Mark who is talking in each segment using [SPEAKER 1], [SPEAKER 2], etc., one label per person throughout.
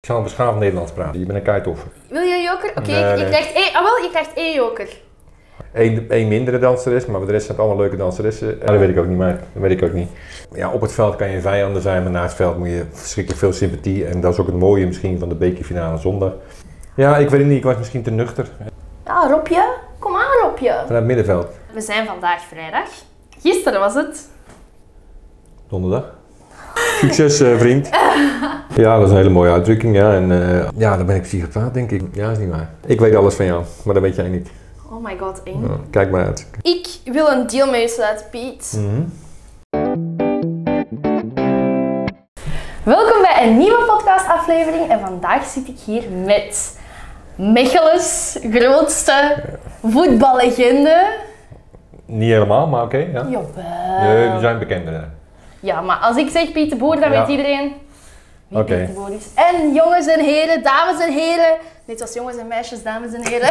[SPEAKER 1] Ik zou een beschaafd Nederlands praten. Je bent een kaartoffer.
[SPEAKER 2] Wil je een joker? Oké,
[SPEAKER 1] Nee,
[SPEAKER 2] je- je,
[SPEAKER 1] nee.
[SPEAKER 2] krijgt één, ah, wel, je krijgt één joker.
[SPEAKER 1] Eén, één mindere danseres, maar voor de rest zijn het allemaal leuke danseressen. Ja, dat weet ik ook niet, maar dat weet ik ook niet. Ja, op het veld kan je vijanden zijn, maar naast het veld moet je verschrikkelijk veel sympathie. En dat is ook het mooie misschien van de bekerfinale zondag. Ja, ik weet het niet, ik was misschien te nuchter.
[SPEAKER 2] Ja, Robje. Kom aan, Robje.
[SPEAKER 1] Vanuit het middenveld,
[SPEAKER 2] We zijn vandaag vrijdag. Gisteren was het.
[SPEAKER 1] donderdag. Succes, eh, vriend. Ja, dat is een hele mooie uitdrukking, ja. En eh, ja, dan ben ik psychopaat, denk ik. Ja, is niet waar. Ik weet alles van jou, maar dat weet jij niet.
[SPEAKER 2] Oh my god, één.
[SPEAKER 1] Ja, kijk maar uit.
[SPEAKER 2] Ik wil een deal met je sluiten, Piet.
[SPEAKER 1] Mhm.
[SPEAKER 2] Welkom bij een nieuwe podcastaflevering en vandaag zit ik hier met Mechelens grootste voetballegende.
[SPEAKER 1] Niet helemaal, maar oké, ja.
[SPEAKER 2] Jawel.
[SPEAKER 1] Nee, die zijn bekender.
[SPEAKER 2] Ja, maar als ik zeg Piet de Boer, dan
[SPEAKER 1] Ja.
[SPEAKER 2] weet iedereen wie
[SPEAKER 1] Oké.
[SPEAKER 2] Piet de Boer is. En jongens en heren, dames en heren. Net als jongens en meisjes, dames en heren.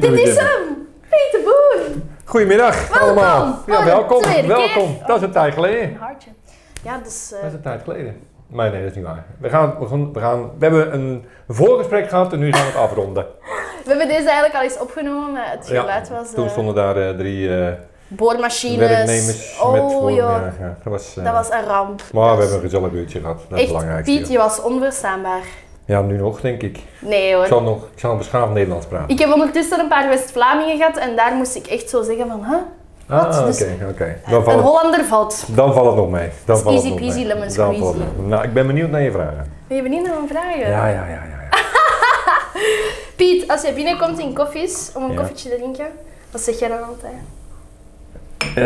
[SPEAKER 2] Dit is hem! Piet de Boer!
[SPEAKER 1] Goedemiddag allemaal.
[SPEAKER 2] Voor
[SPEAKER 1] Ja,
[SPEAKER 2] de
[SPEAKER 1] welkom.
[SPEAKER 2] tweede
[SPEAKER 1] Welkom.
[SPEAKER 2] keer.
[SPEAKER 1] Dat is een tijd geleden.
[SPEAKER 2] Een hartje. Ja, dus... eh,
[SPEAKER 1] Dat is een tijd geleden. Maar nee, dat is niet waar. We, gaan, we, gaan, we, gaan, we hebben een voorgesprek gehad en nu gaan we het afronden.
[SPEAKER 2] we hebben deze eigenlijk al eens opgenomen, maar het
[SPEAKER 1] Ja,
[SPEAKER 2] geluid was... eh,
[SPEAKER 1] Toen stonden daar eh, drie eh,
[SPEAKER 2] boormachines.
[SPEAKER 1] werknemers
[SPEAKER 2] oh,
[SPEAKER 1] met voor.
[SPEAKER 2] joh.
[SPEAKER 1] ja, ja, dat was, eh,
[SPEAKER 2] Dat was een ramp.
[SPEAKER 1] Maar we
[SPEAKER 2] Dat is
[SPEAKER 1] hebben een gezellig uurtje gehad. Dat is het
[SPEAKER 2] Echt,
[SPEAKER 1] belangrijkste.
[SPEAKER 2] Piet, je was onverstaanbaar.
[SPEAKER 1] Ja, nu nog, denk ik.
[SPEAKER 2] Nee
[SPEAKER 1] Ik
[SPEAKER 2] hoor.
[SPEAKER 1] zal, nog, ik zal beschaafd Nederlands praten.
[SPEAKER 2] Ik heb ondertussen een paar West-Vlamingen gehad en daar moest ik echt zo zeggen van, huh?
[SPEAKER 1] ah, oké,
[SPEAKER 2] dus-
[SPEAKER 1] oké. Dan,
[SPEAKER 2] Een
[SPEAKER 1] valt het-
[SPEAKER 2] Hollander valt.
[SPEAKER 1] dan valt het nog mee. Dan
[SPEAKER 2] is
[SPEAKER 1] valt
[SPEAKER 2] easy
[SPEAKER 1] het nog
[SPEAKER 2] peasy,
[SPEAKER 1] mee.
[SPEAKER 2] lemon
[SPEAKER 1] Dan valt het
[SPEAKER 2] squeezy.
[SPEAKER 1] nog mee. Nou, ik ben benieuwd naar je vragen.
[SPEAKER 2] Ben je benieuwd naar mijn vragen?
[SPEAKER 1] Ja, ja, ja, ja. ja.
[SPEAKER 2] Piet, als je binnenkomt in koffies om een
[SPEAKER 1] Ja.
[SPEAKER 2] koffietje te drinken, wat zeg jij dan altijd?
[SPEAKER 1] Eh,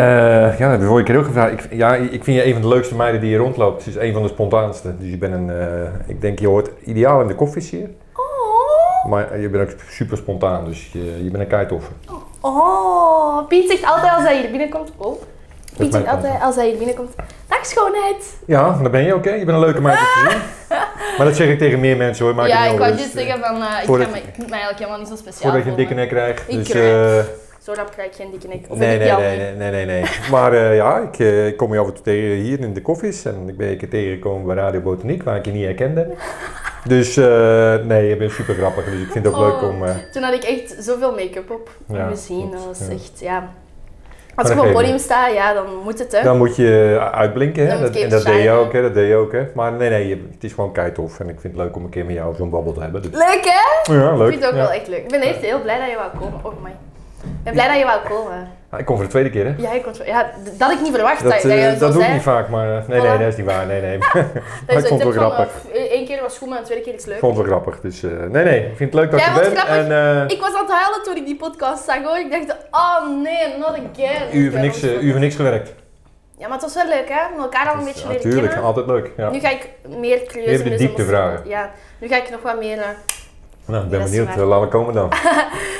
[SPEAKER 1] ja, dat heb je vorige keer ook gevraagd. Ik, ja, ik vind je een van de leukste meiden die hier rondloopt. Ze is een van de spontaanste. Dus je bent een, eh, ik denk je hoort ideaal in de koffies hier.
[SPEAKER 2] Oh.
[SPEAKER 1] Maar je bent ook super spontaan, dus je, je bent een keitoffer.
[SPEAKER 2] Oh. Piet zegt altijd als hij hier binnenkomt, oh. Piet
[SPEAKER 1] mijn
[SPEAKER 2] zegt altijd als hij hier binnenkomt, dag schoonheid.
[SPEAKER 1] Ja, dan ben je ook, hè? Je bent een leuke meid om te zien. Maar dat zeg ik tegen meer mensen hoor. Maak
[SPEAKER 2] ja,
[SPEAKER 1] het niet
[SPEAKER 2] ik
[SPEAKER 1] over.
[SPEAKER 2] wou
[SPEAKER 1] Dus,
[SPEAKER 2] juist zeggen van, eh, ik,
[SPEAKER 1] voordat-
[SPEAKER 2] ga me- ik moet mij eigenlijk helemaal niet zo speciaal
[SPEAKER 1] Voordat je een dikke
[SPEAKER 2] voelen.
[SPEAKER 1] nek krijgt.
[SPEAKER 2] Ik
[SPEAKER 1] Dus,
[SPEAKER 2] krijg-
[SPEAKER 1] eh,
[SPEAKER 2] Zo rap krijg ik geen dikke nek. Of
[SPEAKER 1] nee,
[SPEAKER 2] ik
[SPEAKER 1] nee,
[SPEAKER 2] jou
[SPEAKER 1] nee,
[SPEAKER 2] niet.
[SPEAKER 1] nee, nee, nee, nee. Maar eh, ja, ik, eh, ik kom je af en toe tegen hier in de koffies. En ik ben je een keer tegengekomen bij Radio Botaniek, waar ik je niet herkende. Dus eh, nee, je bent super grappig. Dus ik vind het ook leuk
[SPEAKER 2] Oh.
[SPEAKER 1] om... eh,
[SPEAKER 2] Toen had ik echt zoveel make-up op.
[SPEAKER 1] Ja,
[SPEAKER 2] Ja, zien, dat
[SPEAKER 1] klopt,
[SPEAKER 2] was
[SPEAKER 1] ja.
[SPEAKER 2] echt, ja.
[SPEAKER 1] dat
[SPEAKER 2] Als ik op
[SPEAKER 1] geeft
[SPEAKER 2] het podium sta, ja, dan moet het, hè.
[SPEAKER 1] Dan moet je uitblinken, hè?
[SPEAKER 2] Dan moet
[SPEAKER 1] Dat,
[SPEAKER 2] ik even
[SPEAKER 1] en dat deed je
[SPEAKER 2] shinen.
[SPEAKER 1] ook, hè? Dat deed je ook, hè? Maar nee, nee, je- het is gewoon keitof. En ik vind het leuk om een keer met jou zo'n babbel te hebben. Dus-
[SPEAKER 2] Leuk, hè?
[SPEAKER 1] ja,
[SPEAKER 2] Ik
[SPEAKER 1] leuk.
[SPEAKER 2] vind het ook
[SPEAKER 1] ja.
[SPEAKER 2] wel echt leuk. Ik ben echt heel blij dat je wou komen. Oh my. Ik ben blij dat je wou komen.
[SPEAKER 1] Ah, ik kom voor de tweede keer, hè?
[SPEAKER 2] Ja, ik kon het- ja, d- dat had ik niet verwacht dat,
[SPEAKER 1] Dat,
[SPEAKER 2] dat je
[SPEAKER 1] eh,
[SPEAKER 2] het zou
[SPEAKER 1] dat doe ik
[SPEAKER 2] zijn.
[SPEAKER 1] niet vaak, maar eh, nee, nee,
[SPEAKER 2] Voilà.
[SPEAKER 1] dat is niet waar. Nee, nee.
[SPEAKER 2] Dat
[SPEAKER 1] Maar ik vond
[SPEAKER 2] je zoiets
[SPEAKER 1] het wel
[SPEAKER 2] hebt van,
[SPEAKER 1] grappig.
[SPEAKER 2] eh, Eén keer was goed, maar de tweede keer is
[SPEAKER 1] Ik
[SPEAKER 2] leuk.
[SPEAKER 1] vond het wel grappig. Dus eh, nee, nee, ik vind het leuk dat
[SPEAKER 2] Jij
[SPEAKER 1] je
[SPEAKER 2] vond
[SPEAKER 1] bent.
[SPEAKER 2] het
[SPEAKER 1] En
[SPEAKER 2] grappig.
[SPEAKER 1] eh,
[SPEAKER 2] Ik was aan het huilen toen ik die podcast zag hoor. Ik dacht, oh nee, not again.
[SPEAKER 1] u heeft niks, eh, u heeft niks gewerkt.
[SPEAKER 2] Ja, maar het was wel leuk hè, om elkaar al een beetje leren
[SPEAKER 1] Natuurlijk,
[SPEAKER 2] kennen.
[SPEAKER 1] altijd leuk. Ja.
[SPEAKER 2] Nu ga ik meer curieus
[SPEAKER 1] Je hebt de
[SPEAKER 2] en dus
[SPEAKER 1] diepte
[SPEAKER 2] emotioneel-
[SPEAKER 1] vragen.
[SPEAKER 2] Ja, nu ga ik nog wat meer... eh,
[SPEAKER 1] Nou, ik ben
[SPEAKER 2] Ja, dat is
[SPEAKER 1] benieuwd.
[SPEAKER 2] waar.
[SPEAKER 1] Eh, laten we komen dan.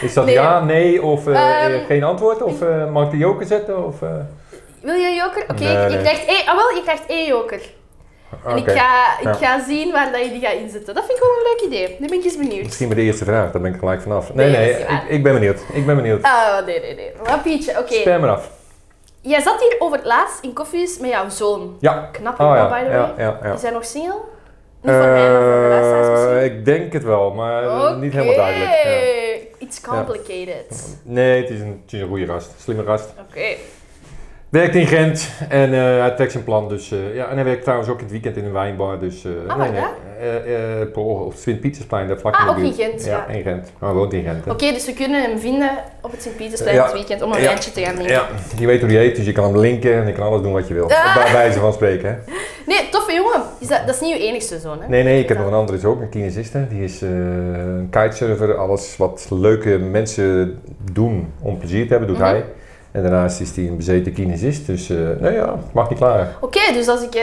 [SPEAKER 1] Is dat
[SPEAKER 2] Nee.
[SPEAKER 1] ja, nee of eh,
[SPEAKER 2] Ehm,
[SPEAKER 1] geen antwoord? Of eh, mag ik de joker zetten? Of, eh,
[SPEAKER 2] Wil je een joker? Oké,
[SPEAKER 1] Nee,
[SPEAKER 2] je- je,
[SPEAKER 1] nee.
[SPEAKER 2] krijgt één, ah, wel, je krijgt één joker. En ik
[SPEAKER 1] oké.
[SPEAKER 2] ga, ik
[SPEAKER 1] Ja.
[SPEAKER 2] ga zien waar dat je die gaat inzetten. Dat vind ik wel een leuk idee. Nu ben ik eens benieuwd.
[SPEAKER 1] Misschien bij de eerste vraag, daar ben ik gelijk vanaf. Nee,
[SPEAKER 2] Nee,
[SPEAKER 1] nee,
[SPEAKER 2] dat is niet
[SPEAKER 1] ik,
[SPEAKER 2] waar.
[SPEAKER 1] ik ben benieuwd. Ik ben benieuwd.
[SPEAKER 2] Oh, nee, nee, nee. Wat Pietje, oké.
[SPEAKER 1] Sper maar af.
[SPEAKER 2] Jij zat hier over het laatst in koffies met jouw zoon.
[SPEAKER 1] Ja.
[SPEAKER 2] Knap
[SPEAKER 1] Oh
[SPEAKER 2] jongen,
[SPEAKER 1] ja,
[SPEAKER 2] by the
[SPEAKER 1] ja,
[SPEAKER 2] way.
[SPEAKER 1] ja, ja.
[SPEAKER 2] Is hij nog single? Niet voor mij, maar voor de luisteraars misschien.
[SPEAKER 1] Eh, ik denk het wel, maar Eh, niet helemaal
[SPEAKER 2] Oké.
[SPEAKER 1] duidelijk. Ja.
[SPEAKER 2] It's complicated.
[SPEAKER 1] Nee, het is, een, het is een goede gast. Slimme gast.
[SPEAKER 2] Oké.
[SPEAKER 1] Werkt in Gent en eh, hij trekt zijn plan. Dus, eh, ja, en hij werkt trouwens ook in het weekend in een wijnbar. Dus, eh,
[SPEAKER 2] Ah,
[SPEAKER 1] nee,
[SPEAKER 2] waar
[SPEAKER 1] nee. Eh, eh, op het Sint-Pietersplein, daar vlak
[SPEAKER 2] Ah,
[SPEAKER 1] in de
[SPEAKER 2] ook in
[SPEAKER 1] buurt.
[SPEAKER 2] Gent, ja.
[SPEAKER 1] in Gent. Maar hij woont in Gent. hè.
[SPEAKER 2] Oké, dus we kunnen hem vinden op het Sint-Pietersplein
[SPEAKER 1] Ja.
[SPEAKER 2] dit weekend om een
[SPEAKER 1] Ja.
[SPEAKER 2] wijntje te gaan drinken.
[SPEAKER 1] Ja, je weet hoe die heet, dus je kan hem linken en je kan alles doen wat je wil.
[SPEAKER 2] Ah.
[SPEAKER 1] Bij wijze van spreken. Hè.
[SPEAKER 2] Nee, toffe jongen. Is dat, dat is niet uw enigste zoon, hè?
[SPEAKER 1] Nee, nee, ik heb nog een andere, is ook een kinesiste. Die is eh, een kitesurfer. Alles wat leuke mensen doen om plezier te hebben, doet
[SPEAKER 2] Mhm.
[SPEAKER 1] hij. En daarnaast is hij een bezeten kinesist. Dus eh nou ja, mag niet klaar.
[SPEAKER 2] Oké, dus als ik eh,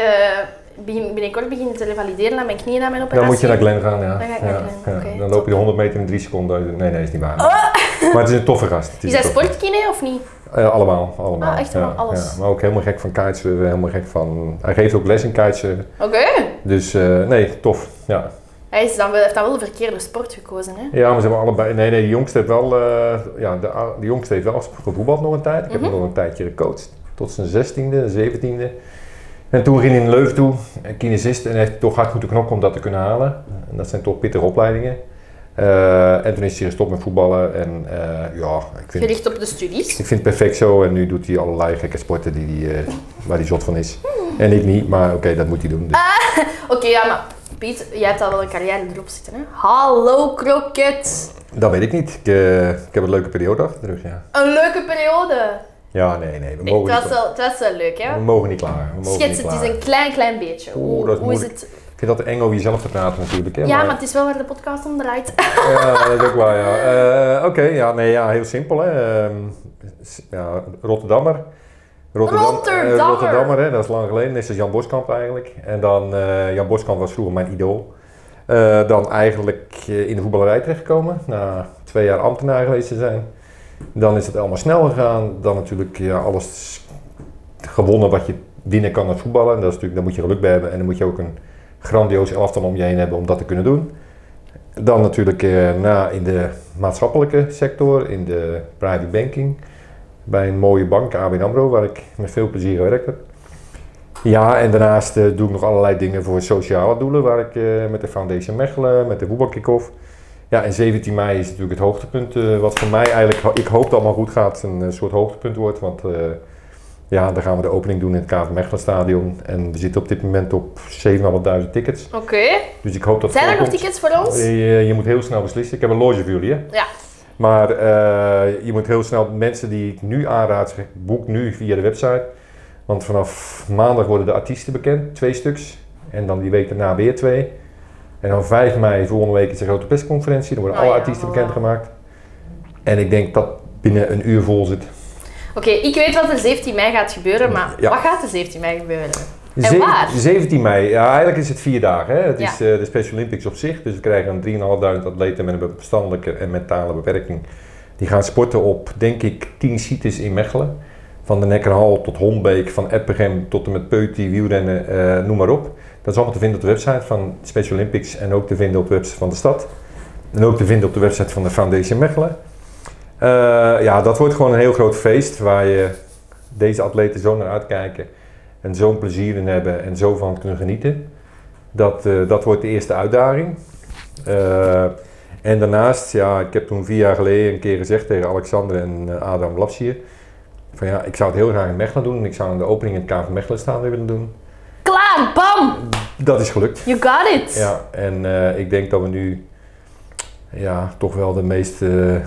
[SPEAKER 2] begin, binnenkort begin te revalideren aan mijn knieën na mijn
[SPEAKER 1] Dan
[SPEAKER 2] operatie...
[SPEAKER 1] moet je naar Glen gaan, ja.
[SPEAKER 2] Dan ga ik
[SPEAKER 1] Ja,
[SPEAKER 2] naar Glen,
[SPEAKER 1] ja.
[SPEAKER 2] oké, Oh!
[SPEAKER 1] Dan loop je de 100 meter in 3 seconden. uit. Nee, nee, is niet waar. Maar het is een toffe gast. Het
[SPEAKER 2] Is
[SPEAKER 1] een
[SPEAKER 2] hij
[SPEAKER 1] toffe-
[SPEAKER 2] sportkine of niet?
[SPEAKER 1] Eh, allemaal, allemaal.
[SPEAKER 2] Ah, echt allemaal alles?
[SPEAKER 1] Maar ook helemaal gek van kitesurfen, helemaal gek van... Hij geeft ook les in kitesurfen.
[SPEAKER 2] Oké.
[SPEAKER 1] Dus eh, nee, tof. Ja.
[SPEAKER 2] Hij is dan wel, heeft dan wel de verkeerde sport gekozen, hè?
[SPEAKER 1] Ja, maar ze hebben allebei. Nee, nee, de jongste heeft wel. eh, ja, de, a- de jongste
[SPEAKER 2] Mhm.
[SPEAKER 1] heeft wel gevoetbald nog een tijd. Ik heb hem nog een tijdje gecoacht. Tot zijn 16e, 17e. En toen ging hij in Leuven toe, een kinesist, en hij heeft toch hard moeten knokken om dat te kunnen halen. En dat zijn toch pittige opleidingen. Eh, en toen is hij gestopt met voetballen en eh, ja, ik vind,
[SPEAKER 2] Gericht op de studies.
[SPEAKER 1] ik vind het perfect zo. En nu doet hij allerlei gekke sporten die, die, eh, waar hij zot van is.
[SPEAKER 2] Hmm.
[SPEAKER 1] En ik niet, maar oké, dat moet hij doen. Dus
[SPEAKER 2] Oké, ja, maar Piet, jij hebt al wel een carrière erop zitten, hè? Hallo, kroket.
[SPEAKER 1] Dat weet ik niet. Ik, eh, ik heb een leuke periode achter de rug, ja.
[SPEAKER 2] Een leuke periode.
[SPEAKER 1] Ja, nee, nee, we
[SPEAKER 2] Ik, het,
[SPEAKER 1] mogen,
[SPEAKER 2] was
[SPEAKER 1] niet, klaar.
[SPEAKER 2] wel, het was wel leuk, hè?
[SPEAKER 1] we mogen niet klaar. We mogen
[SPEAKER 2] Schets
[SPEAKER 1] niet
[SPEAKER 2] het
[SPEAKER 1] klaar.
[SPEAKER 2] eens een klein, klein beetje.
[SPEAKER 1] Oeh,
[SPEAKER 2] Hoe,
[SPEAKER 1] dat is
[SPEAKER 2] hoe is
[SPEAKER 1] moeilijk.
[SPEAKER 2] het?
[SPEAKER 1] Ik vind dat eng over jezelf te praten natuurlijk. Hè?
[SPEAKER 2] Ja, maar het is wel waar de podcast om draait.
[SPEAKER 1] Ja, dat is ook waar, ja. Eh, Oké, ja, nee, ja, heel simpel, hè. Ehm, s- ja, Rotterdammer.
[SPEAKER 2] Rotterdammer.
[SPEAKER 1] eh, Rotterdammer, hè, dat is lang geleden. Dit is Jan Boskamp eigenlijk. En dan, eh, Jan Boskamp was vroeger mijn idool. Eh, dan eigenlijk eh, in de voetballerij terechtgekomen, na twee jaar ambtenaar geweest te zijn. Dan is het allemaal snel gegaan. Dan natuurlijk ja, alles gewonnen wat je winnen kan met voetballen. En dat is natuurlijk, daar moet je geluk bij hebben. En dan moet je ook een grandioos elftal om je heen hebben om dat te kunnen doen. Dan natuurlijk eh, na in de maatschappelijke sector, in de private banking. Bij een mooie bank, ABN AMRO, waar ik met veel plezier gewerkt heb. Ja, en daarnaast eh, doe ik nog allerlei dingen voor sociale doelen, waar ik eh, met de Foundation Mechelen, met de Voetbalkick-Off. Ja, en 17 mei is natuurlijk het hoogtepunt, eh, wat voor mij eigenlijk, ho- ik hoop dat allemaal goed gaat, een eh, soort hoogtepunt wordt. Want eh, ja, dan gaan we de opening doen in het KV Mechelen Stadion. En we zitten op dit moment op 7.500 tickets.
[SPEAKER 2] Oké.
[SPEAKER 1] Dus ik hoop dat
[SPEAKER 2] Zijn er nog
[SPEAKER 1] voorkomt.
[SPEAKER 2] tickets voor ons?
[SPEAKER 1] Eh, Je, je moet heel snel beslissen. Ik heb een loge voor jullie, hè?
[SPEAKER 2] Ja.
[SPEAKER 1] Maar eh, je moet heel snel mensen die ik nu aanraad, zeg, boek nu via de website. Want vanaf maandag worden de artiesten bekend, twee stuks. En dan die week daarna weer twee. En dan 5 mei volgende week is de grote persconferentie. Dan worden
[SPEAKER 2] Oh
[SPEAKER 1] alle
[SPEAKER 2] ja,
[SPEAKER 1] artiesten
[SPEAKER 2] voilà.
[SPEAKER 1] bekendgemaakt. En ik denk dat binnen een uur vol zit.
[SPEAKER 2] Oké, ik weet wat er 17 mei gaat gebeuren, maar
[SPEAKER 1] Ja.
[SPEAKER 2] wat gaat er 17 mei gebeuren? En
[SPEAKER 1] Zeven-
[SPEAKER 2] waar?
[SPEAKER 1] 17 mei. Ja, eigenlijk is het vier dagen. Hè? Het
[SPEAKER 2] Ja.
[SPEAKER 1] is eh, de Special Olympics op zich. Dus we krijgen dan 3.500 atleten met een verstandelijke en mentale beperking. Die gaan sporten op, denk ik, 10 sites in Mechelen. Van de Nekkerhal tot Hombeek, van Eppegem tot en met Peuty, wielrennen, eh, noem maar op. Dat is allemaal te vinden op de website van Special Olympics en ook te vinden op de website van de stad. En ook te vinden op de website van de Foundation Mechelen. Eh, ja, dat wordt gewoon een heel groot feest waar je deze atleten zo naar uitkijken en zo'n plezier in hebben en zo van kunnen genieten. Dat, eh, dat wordt de eerste uitdaging. Eh, en daarnaast, ja, ik heb toen vier jaar geleden een keer gezegd tegen Alexander en eh, Adam Lapsier. Van ja, ik zou het heel graag in Mechelen doen. Ik zou aan de opening in het KV Mechelen staan willen doen.
[SPEAKER 2] Klaar, bam!
[SPEAKER 1] Dat is gelukt.
[SPEAKER 2] You got it!
[SPEAKER 1] Ja, en eh, ik denk dat we nu ja, toch wel de meest eh, een,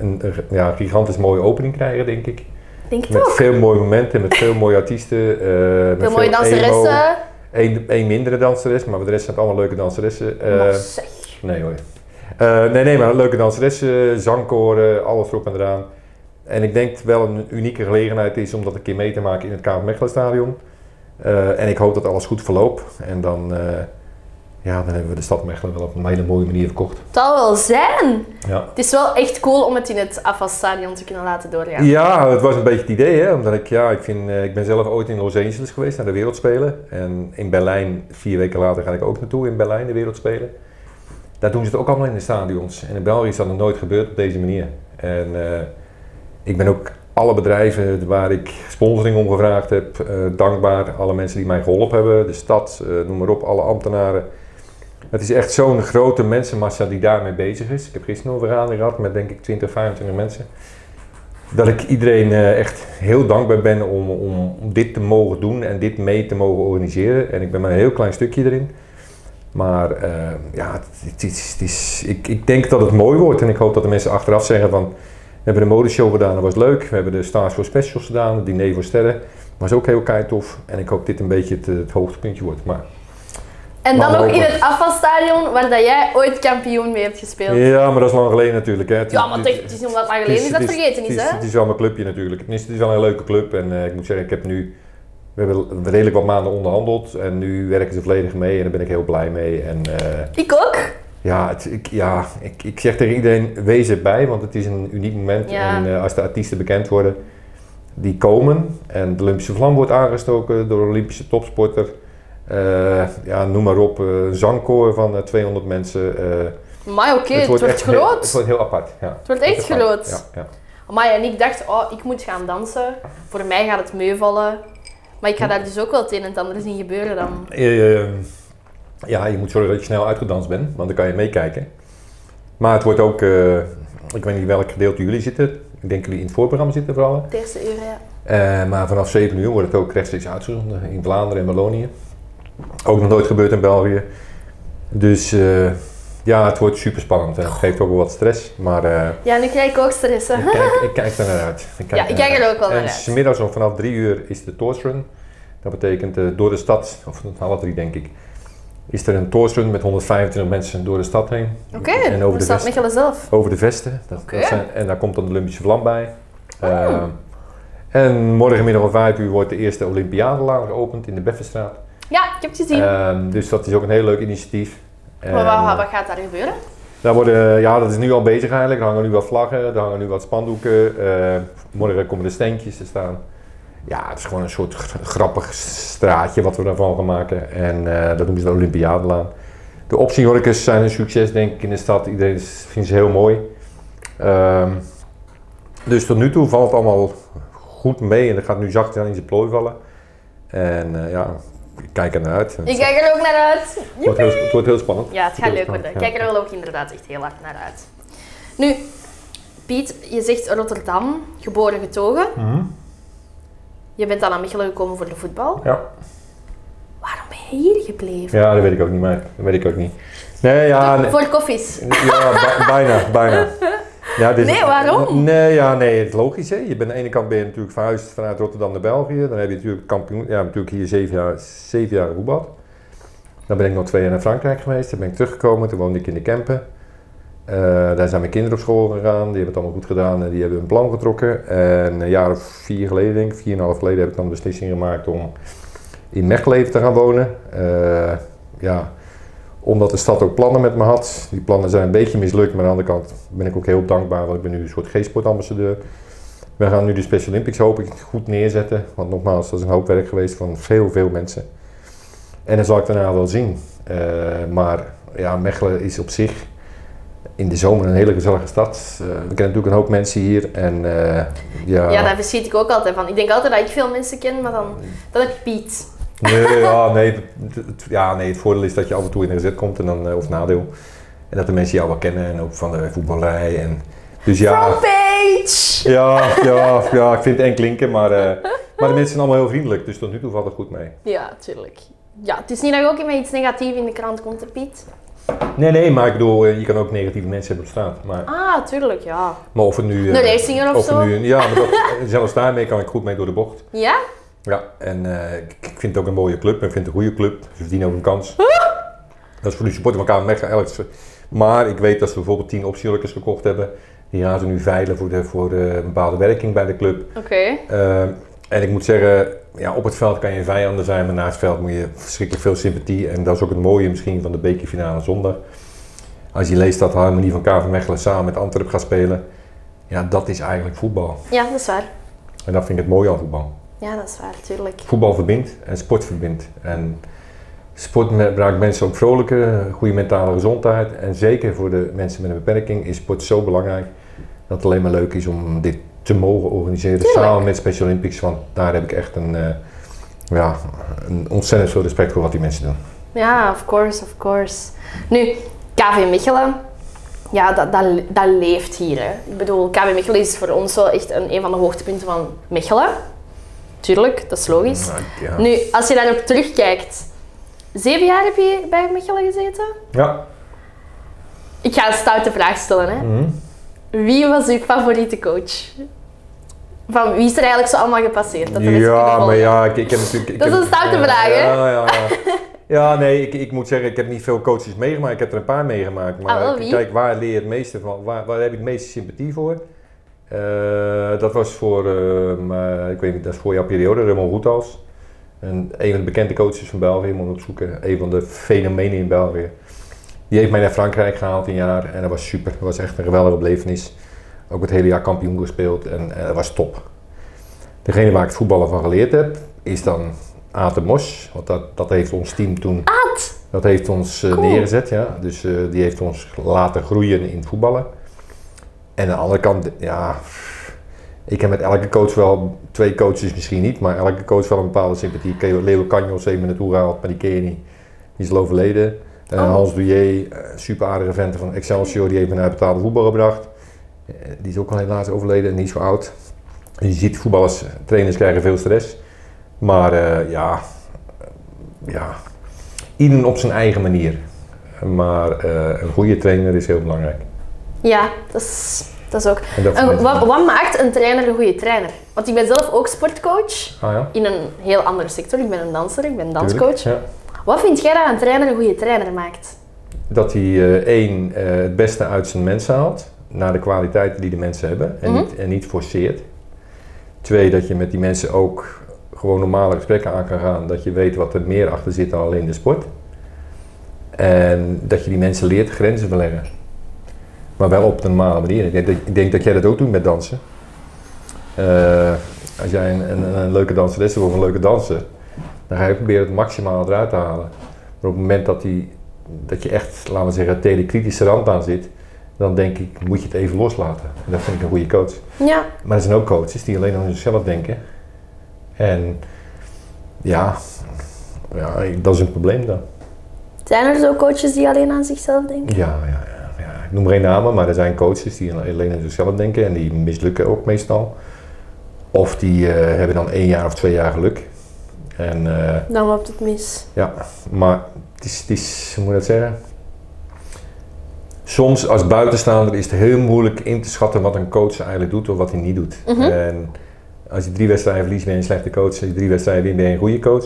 [SPEAKER 1] een ja, gigantisch mooie opening krijgen, denk ik.
[SPEAKER 2] Denk het
[SPEAKER 1] Met
[SPEAKER 2] ook.
[SPEAKER 1] veel mooie momenten, met veel mooie artiesten. eh met
[SPEAKER 2] Veel mooie
[SPEAKER 1] emo.
[SPEAKER 2] danseressen.
[SPEAKER 1] Eén één mindere danseres, maar voor de rest zijn het allemaal leuke danseressen. Eh,
[SPEAKER 2] Nog zeg.
[SPEAKER 1] nee hoor. Eh, nee, nee, maar leuke danseressen, zangkoren, alles erop en eraan. En ik denk dat het wel een unieke gelegenheid is om dat een keer mee te maken in het KV Mechelen Stadion. Eh, en ik hoop dat alles goed verloopt. En dan, eh, ja, dan hebben we de stad Mechelen wel op een hele mooie manier verkocht.
[SPEAKER 2] Het zal wel zijn.
[SPEAKER 1] Ja.
[SPEAKER 2] Het is wel echt cool om het in het afvalstadion te kunnen laten doorgaan.
[SPEAKER 1] Ja, dat was een beetje het idee, hè? omdat ik, ja, ik, vind, eh, ik ben zelf ooit in Los Angeles geweest naar de Wereldspelen. En in Berlijn, vier weken later, ga ik ook naartoe in Berlijn, de Wereldspelen. Daar doen ze het ook allemaal in de stadions. En in België is dat nog nooit gebeurd op deze manier. En eh, ik ben ook alle bedrijven waar ik sponsoring om gevraagd heb, eh, dankbaar. Alle mensen die mij geholpen hebben, de stad, eh, noem maar op, alle ambtenaren. Het is echt zo'n grote mensenmassa die daarmee bezig is. Ik heb gisteren nog een vergadering gehad met denk ik 20, 25 mensen dat ik iedereen eh, echt heel dankbaar ben om, om, om dit te mogen doen en dit mee te mogen organiseren. En ik ben maar een heel klein stukje erin. Maar eh, ja, het, het is, het is, ik, ik denk dat het mooi wordt en ik hoop dat de mensen achteraf zeggen van... We hebben de modeshow gedaan, dat was leuk. We hebben de Stars voor Specials gedaan, het diner voor sterren. Was ook heel kei tof. En ik hoop dat dit een beetje het, eh, het hoogtepuntje wordt. Maar
[SPEAKER 2] En dan
[SPEAKER 1] Maar
[SPEAKER 2] ook in
[SPEAKER 1] lopen.
[SPEAKER 2] het afvalstadion waar dat jij ooit kampioen mee hebt gespeeld.
[SPEAKER 1] Ja, maar dat is lang geleden natuurlijk. Hè. Het
[SPEAKER 2] Ja, maar
[SPEAKER 1] het-
[SPEAKER 2] het is nog wat lang geleden is dat
[SPEAKER 1] het
[SPEAKER 2] vergeten
[SPEAKER 1] het
[SPEAKER 2] is, hè?
[SPEAKER 1] Het is wel mijn clubje natuurlijk. Het is, het is wel een leuke club en eh, ik moet zeggen, ik heb nu... We hebben redelijk wat maanden onderhandeld en nu werken ze volledig mee en daar ben ik heel blij mee. En eh,
[SPEAKER 2] Ik ook.
[SPEAKER 1] ja, het, ik, ja ik, ik zeg tegen iedereen, wees erbij, want het is een uniek moment.
[SPEAKER 2] Ja.
[SPEAKER 1] En eh, als de artiesten bekend worden, die komen en de Olympische vlam wordt aangestoken door een Olympische topsporter. Eh, ja, noem maar op, eh, een zangkoor van eh, 200 mensen. eh,
[SPEAKER 2] Maar oké, het wordt,
[SPEAKER 1] echt heel-
[SPEAKER 2] groot.
[SPEAKER 1] het wordt heel apart, ja.
[SPEAKER 2] het wordt echt
[SPEAKER 1] Dat is waar.
[SPEAKER 2] groot.
[SPEAKER 1] Ja, ja.
[SPEAKER 2] Maar en ik dacht, oh, ik moet gaan dansen. Voor mij gaat het meevallen. Maar ik ga daar dus ook wel het een en het ander zien gebeuren dan.
[SPEAKER 1] Eh, ja, je moet zorgen dat je snel uitgedanst bent, want dan kan je meekijken. Maar het wordt ook, eh, ik weet niet welk gedeelte jullie zitten. Ik denk jullie in het voorprogramma zitten vooral.
[SPEAKER 2] Het eerste uur, ja.
[SPEAKER 1] Eh, maar vanaf 7 uur wordt het ook rechtstreeks uitgezonden in Vlaanderen en Wallonië. Ook nog nooit gebeurd in België. Dus eh, ja, het wordt super spannend. Het geeft ook wel wat stress, maar eh,
[SPEAKER 2] Ja, nu krijg ik ook stress. hè.
[SPEAKER 1] ik, kijk, ik kijk er naar uit.
[SPEAKER 2] Ja, ik kijk er ook wel naar
[SPEAKER 1] En
[SPEAKER 2] uit.
[SPEAKER 1] smiddags om vanaf 3 uur is de Torch Run. Dat betekent eh, door de stad, of alle drie denk ik, is er een Torch Run met 125 mensen door de stad heen.
[SPEAKER 2] Oké,
[SPEAKER 1] en over
[SPEAKER 2] dan
[SPEAKER 1] de,
[SPEAKER 2] staat
[SPEAKER 1] vest,
[SPEAKER 2] Mechelen zelf.
[SPEAKER 1] over de vesten. Dat,
[SPEAKER 2] Oké. Oh.
[SPEAKER 1] dat zijn, en daar komt dan de Olympische vlam bij. Eh, en morgenmiddag om 5 uur wordt de eerste Olympiadelaan geopend in de Beffenstraat.
[SPEAKER 2] Ja, ik heb het gezien.
[SPEAKER 1] Ehm, dus dat is ook een heel leuk initiatief. Ehm,
[SPEAKER 2] maar
[SPEAKER 1] En,
[SPEAKER 2] wa- wa- wat gaat daar gebeuren?
[SPEAKER 1] daar worden, ja, dat is nu al bezig eigenlijk. Er hangen nu wat vlaggen, er hangen nu wat spandoeken. eh, morgen komen de steentjes te staan. Ja, het is gewoon een soort gr- grappig straatje wat we daarvan gaan maken. En eh, dat noemen ze de Olympiadelaan. De optiehorkers zijn een succes, denk ik, in de stad. Iedereen is- vindt ze heel mooi. Ehm, dus tot nu toe valt het allemaal goed mee. En dat gaat nu zacht aan in zijn plooi vallen. En eh, ja, ik kijk er naar uit.
[SPEAKER 2] Ik kijk er ook naar uit.
[SPEAKER 1] het, wordt heel, het wordt heel spannend.
[SPEAKER 2] Ja, het gaat leuk
[SPEAKER 1] spannend,
[SPEAKER 2] worden. Ik
[SPEAKER 1] ja.
[SPEAKER 2] kijk er wel ook inderdaad echt heel hard naar uit. Nu, Piet, je zegt Rotterdam, geboren getogen.
[SPEAKER 1] Mhm.
[SPEAKER 2] Je bent dan naar Mechelen gekomen voor de voetbal.
[SPEAKER 1] Ja.
[SPEAKER 2] Waarom ben je hier gebleven?
[SPEAKER 1] Ja, dat weet ik ook niet, maar dat weet ik ook niet. Nee, ja, nee.
[SPEAKER 2] Voor koffies.
[SPEAKER 1] ja bij- bijna, bijna. Ja, dit is-
[SPEAKER 2] Nee, waarom?
[SPEAKER 1] Nee, ja, nee, het is logisch. Hè. Je bent, aan de ene kant ben je natuurlijk verhuisd vanuit Rotterdam naar België. Dan heb je natuurlijk kampioen, ja, natuurlijk hier zeven jaar, zeven jaar gevoetbald. Dan ben ik nog twee jaar naar Frankrijk geweest. Dan ben ik teruggekomen. Toen woonde ik in de Kempen. Eh, daar zijn mijn kinderen op school gegaan. Die hebben het allemaal goed gedaan en die hebben hun plan getrokken. En een jaar of vier geleden, denk ik, vier en een half geleden, heb ik dan de beslissing gemaakt om in Mechelen te gaan wonen. Eh, ja, omdat de stad ook plannen met me had. Die plannen zijn een beetje mislukt, maar aan de andere kant ben ik ook heel dankbaar, want ik ben nu een soort G-sportambassadeur. We gaan nu de Special Olympics hoop ik goed neerzetten, want nogmaals, dat is een hoop werk geweest van veel, veel mensen. En dan zal ik daarna wel zien. Eh, maar ja, Mechelen is op zich in de zomer een hele gezellige stad. Eh, we kennen natuurlijk een hoop mensen hier en eh, ja...
[SPEAKER 2] Ja, daar verschiet ik ook altijd van. Ik denk altijd dat ik veel mensen ken, maar dan, dan heb ik Piet.
[SPEAKER 1] Nee, ja, nee, het- het- ja, nee, het voordeel is dat je af en toe in een gezet komt, en dan, eh, of nadeel. En dat de mensen jou wel kennen en ook van de voetballerij. En, dus ja,
[SPEAKER 2] Frontpage!
[SPEAKER 1] ja, ja, ja, ik vind het eng klinken, maar, eh, maar de mensen zijn allemaal heel vriendelijk, dus tot nu toe valt het goed mee.
[SPEAKER 2] Ja, tuurlijk. Ja, het is niet dat je ook met iets negatiefs in de krant komt, hè, Piet.
[SPEAKER 1] Nee, nee, maar ik bedoel, eh, je kan ook negatieve mensen hebben op straat. Maar,
[SPEAKER 2] Ah, tuurlijk, ja.
[SPEAKER 1] maar of het nu... eh,
[SPEAKER 2] Een racinger of
[SPEAKER 1] het
[SPEAKER 2] zo?
[SPEAKER 1] Nu, ja, maar dat- eh, zelfs daarmee kan ik goed mee door de bocht.
[SPEAKER 2] Ja?
[SPEAKER 1] Ja, en eh, ik ik vind het ook een mooie club. Ik vind het een goede club. Ze verdienen ook een kans. Dat is voor de supporter van KMF eigenlijk. zo- Maar ik weet dat ze bijvoorbeeld 10 optielukkers gekocht hebben. Die gaan ze nu veilen voor, de, voor eh, een bepaalde werking bij de club.
[SPEAKER 2] Oké.
[SPEAKER 1] Eh, en ik moet zeggen, ja, op het veld kan je vijanden zijn, maar naast het veld moet je verschrikkelijk veel sympathie. En dat is ook het mooie misschien van de bekerfinale zondag. Als je leest dat de harmonie van KV Mechelen samen met Antwerp gaat spelen. Ja, dat is eigenlijk voetbal.
[SPEAKER 2] Ja, dat is waar.
[SPEAKER 1] En dat vind ik het mooie aan voetbal.
[SPEAKER 2] Ja, dat is waar, tuurlijk.
[SPEAKER 1] Voetbal verbindt en sport verbindt. En sport me- maakt mensen ook vrolijker, goede mentale gezondheid. En zeker voor de mensen met een beperking is sport zo belangrijk dat het alleen maar leuk is om dit te mogen organiseren
[SPEAKER 2] Tuurlijk.
[SPEAKER 1] samen met Special Olympics. Want daar heb ik echt een, eh, ja, een ontzettend veel respect voor wat die mensen doen.
[SPEAKER 2] Ja, of course, of course. Nu, KV Mechelen, ja, dat, dat, dat leeft hier. Hè. Ik bedoel, KV Mechelen is voor ons wel echt een, een van de hoogtepunten van Mechelen. Tuurlijk, dat is logisch.
[SPEAKER 1] Ja.
[SPEAKER 2] Nu, als je daarop terugkijkt, zeven jaar heb je bij Mechelen gezeten?
[SPEAKER 1] ja.
[SPEAKER 2] Ik ga een stoute vraag stellen. Hè.
[SPEAKER 1] Mhm.
[SPEAKER 2] Wie was uw favoriete coach? Van wie is er eigenlijk zo allemaal gepasseerd? Dat de mensen kunnen
[SPEAKER 1] Ja,
[SPEAKER 2] volgen?
[SPEAKER 1] maar ja, ik, ik heb natuurlijk... ik
[SPEAKER 2] Dat is
[SPEAKER 1] heb-
[SPEAKER 2] een stoute vraag, hè?
[SPEAKER 1] Ja, ja, ja. Ja, nee, ik, ik moet zeggen, ik heb niet veel coaches meegemaakt. Ik heb er een paar meegemaakt. Maar
[SPEAKER 2] Ah, wel, wie?
[SPEAKER 1] kijk, waar leer je het meeste van? Waar, waar heb ik de meeste sympathie voor? Eh, dat was voor, ehm, eh, ik weet niet, dat is voor jouw periode, Raymond Roetals. En een van de bekende coaches van België, moet ik opzoeken. Een van de fenomenen in België. Die heeft mij naar Frankrijk gehaald een jaar en dat was super. Dat was echt een geweldige belevenis. Ook het hele jaar kampioen gespeeld en eh, dat was top. Degene waar ik het voetballen van geleerd heb, is dan Aad de Mos. Want dat, dat heeft ons team toen...
[SPEAKER 2] Aad!
[SPEAKER 1] Dat heeft ons eh,
[SPEAKER 2] Cool.
[SPEAKER 1] neergezet, ja. Dus eh, die heeft ons laten groeien in het voetballen. En aan de andere kant, ja... Ik heb met elke coach wel, twee coaches misschien niet, maar elke coach wel een bepaalde sympathie. Ke- Leo Canjos heeft me naartoe gehaald, maar die ken je niet. Die is al overleden. Eh,
[SPEAKER 2] Oh.
[SPEAKER 1] Hans Douillet, eh, super aardige vent van Excelsior, die heeft me naar betaalde voetbal gebracht. Eh, die is ook al helaas overleden en niet zo oud. Je ziet voetballers, eh, trainers krijgen veel stress. Maar eh, ja, ja, ieder op zijn eigen manier. Maar eh, een goede trainer is heel belangrijk.
[SPEAKER 2] Ja, dat is, dat is ook.
[SPEAKER 1] En dat
[SPEAKER 2] En
[SPEAKER 1] vind ik-
[SPEAKER 2] wat, wat maakt een trainer een goede trainer? Want ik ben zelf ook sportcoach
[SPEAKER 1] Ah ja?
[SPEAKER 2] in een heel andere sector. Ik ben een danser, ik ben
[SPEAKER 1] tuurlijk.
[SPEAKER 2] danscoach.
[SPEAKER 1] Ja.
[SPEAKER 2] Wat vind jij dat een trainer een goede trainer maakt?
[SPEAKER 1] Dat hij eh, één, eh, het beste uit zijn mensen haalt, naar de kwaliteiten die de mensen hebben en,
[SPEAKER 2] Mhm.
[SPEAKER 1] niet, en niet forceert. Twee, dat je met die mensen ook gewoon normale gesprekken aan kan gaan, dat je weet wat er meer achter zit dan alleen de sport. En dat je die mensen leert grenzen verleggen. Maar wel op de normale manier. Ik denk dat, ik denk dat jij dat ook doet met dansen. Eh, als jij een, een, een leuke danseres wil of een leuke danser, dan ga je proberen het maximaal eruit te halen. Maar op het moment dat, die, dat je echt, laten we zeggen, tegen de kritische rand aan zit, dan denk ik, moet je het even loslaten. En dat vind ik een goede coach.
[SPEAKER 2] Ja,
[SPEAKER 1] Maar er zijn ook coaches die alleen aan zichzelf denken. En ja, ja ik- dat is een probleem dan.
[SPEAKER 2] zijn er zo coaches die alleen aan zichzelf denken?
[SPEAKER 1] Ja, ja, ja, ja. Ik noem geen namen, maar er zijn coaches die alleen aan zichzelf denken en die mislukken ook meestal. Of die eh, hebben dan één jaar of twee jaar geluk. En, eh,
[SPEAKER 2] Dan loopt het mis.
[SPEAKER 1] ja, maar het is, het is, hoe moet je dat zeggen? Soms als buitenstaander is het heel moeilijk in te schatten wat een coach eigenlijk doet of wat hij niet doet.
[SPEAKER 2] Mhm.
[SPEAKER 1] En als je drie wedstrijden verliest ben je een slechte coach, als je drie wedstrijden wint ben je een goede coach.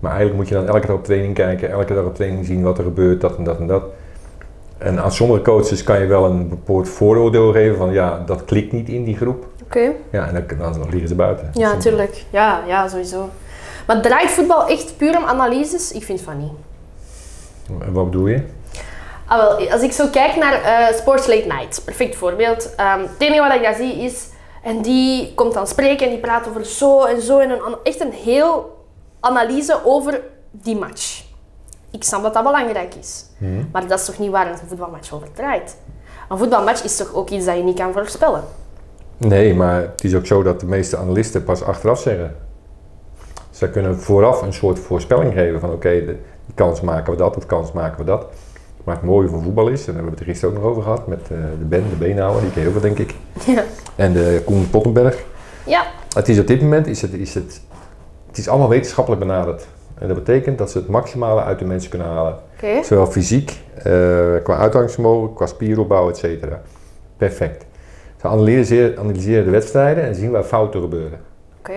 [SPEAKER 1] Maar eigenlijk moet je dan elke dag op training kijken, elke dag op training zien wat er gebeurt, dat en dat en dat. En aan sommige coaches kan je wel een bepaald vooroordeel geven van ja, dat klikt niet in die groep.
[SPEAKER 2] Oké.
[SPEAKER 1] Ja, en dan, dan liggen ze buiten.
[SPEAKER 2] Ja,
[SPEAKER 1] Simpel.
[SPEAKER 2] natuurlijk. Ja, ja, sowieso. Maar draait voetbal echt puur om analyses? Ik vind van niet.
[SPEAKER 1] Wat bedoel je?
[SPEAKER 2] Ah, wel, als ik zo kijk naar eh, Sports Late Night, perfect voorbeeld. Ehm, het enige wat ik daar zie is, en die komt dan spreken en die praat over zo en zo. En een, an- echt een heel analyse over die match. Ik snap dat dat belangrijk is. Maar dat is toch niet waar een voetbalmatch over draait? Een voetbalmatch is toch ook iets dat je niet kan voorspellen?
[SPEAKER 1] Nee, maar het is ook zo dat de meeste analisten pas achteraf zeggen. Ze kunnen vooraf een soort voorspelling geven van oké, de die kans maken we dat, of kans maken we dat. Maar het mooie van voetbal is, en daar hebben we het er gisteren ook nog over gehad, met eh, de Ben, de Beenhouwer, die ken je ook wel denk ik,
[SPEAKER 2] Ja.
[SPEAKER 1] en de Koen Pottenberg.
[SPEAKER 2] Ja,
[SPEAKER 1] Het is op dit moment, is het, is het, het is allemaal wetenschappelijk benaderd. En dat betekent dat ze het maximale uit de mensen kunnen halen.
[SPEAKER 2] oké.
[SPEAKER 1] Zowel fysiek, eh, qua uitgangsvermogen, qua spieropbouw, et cetera. Perfect. Ze analyseren, analyseren de wedstrijden en zien waar fouten gebeuren.
[SPEAKER 2] Oké.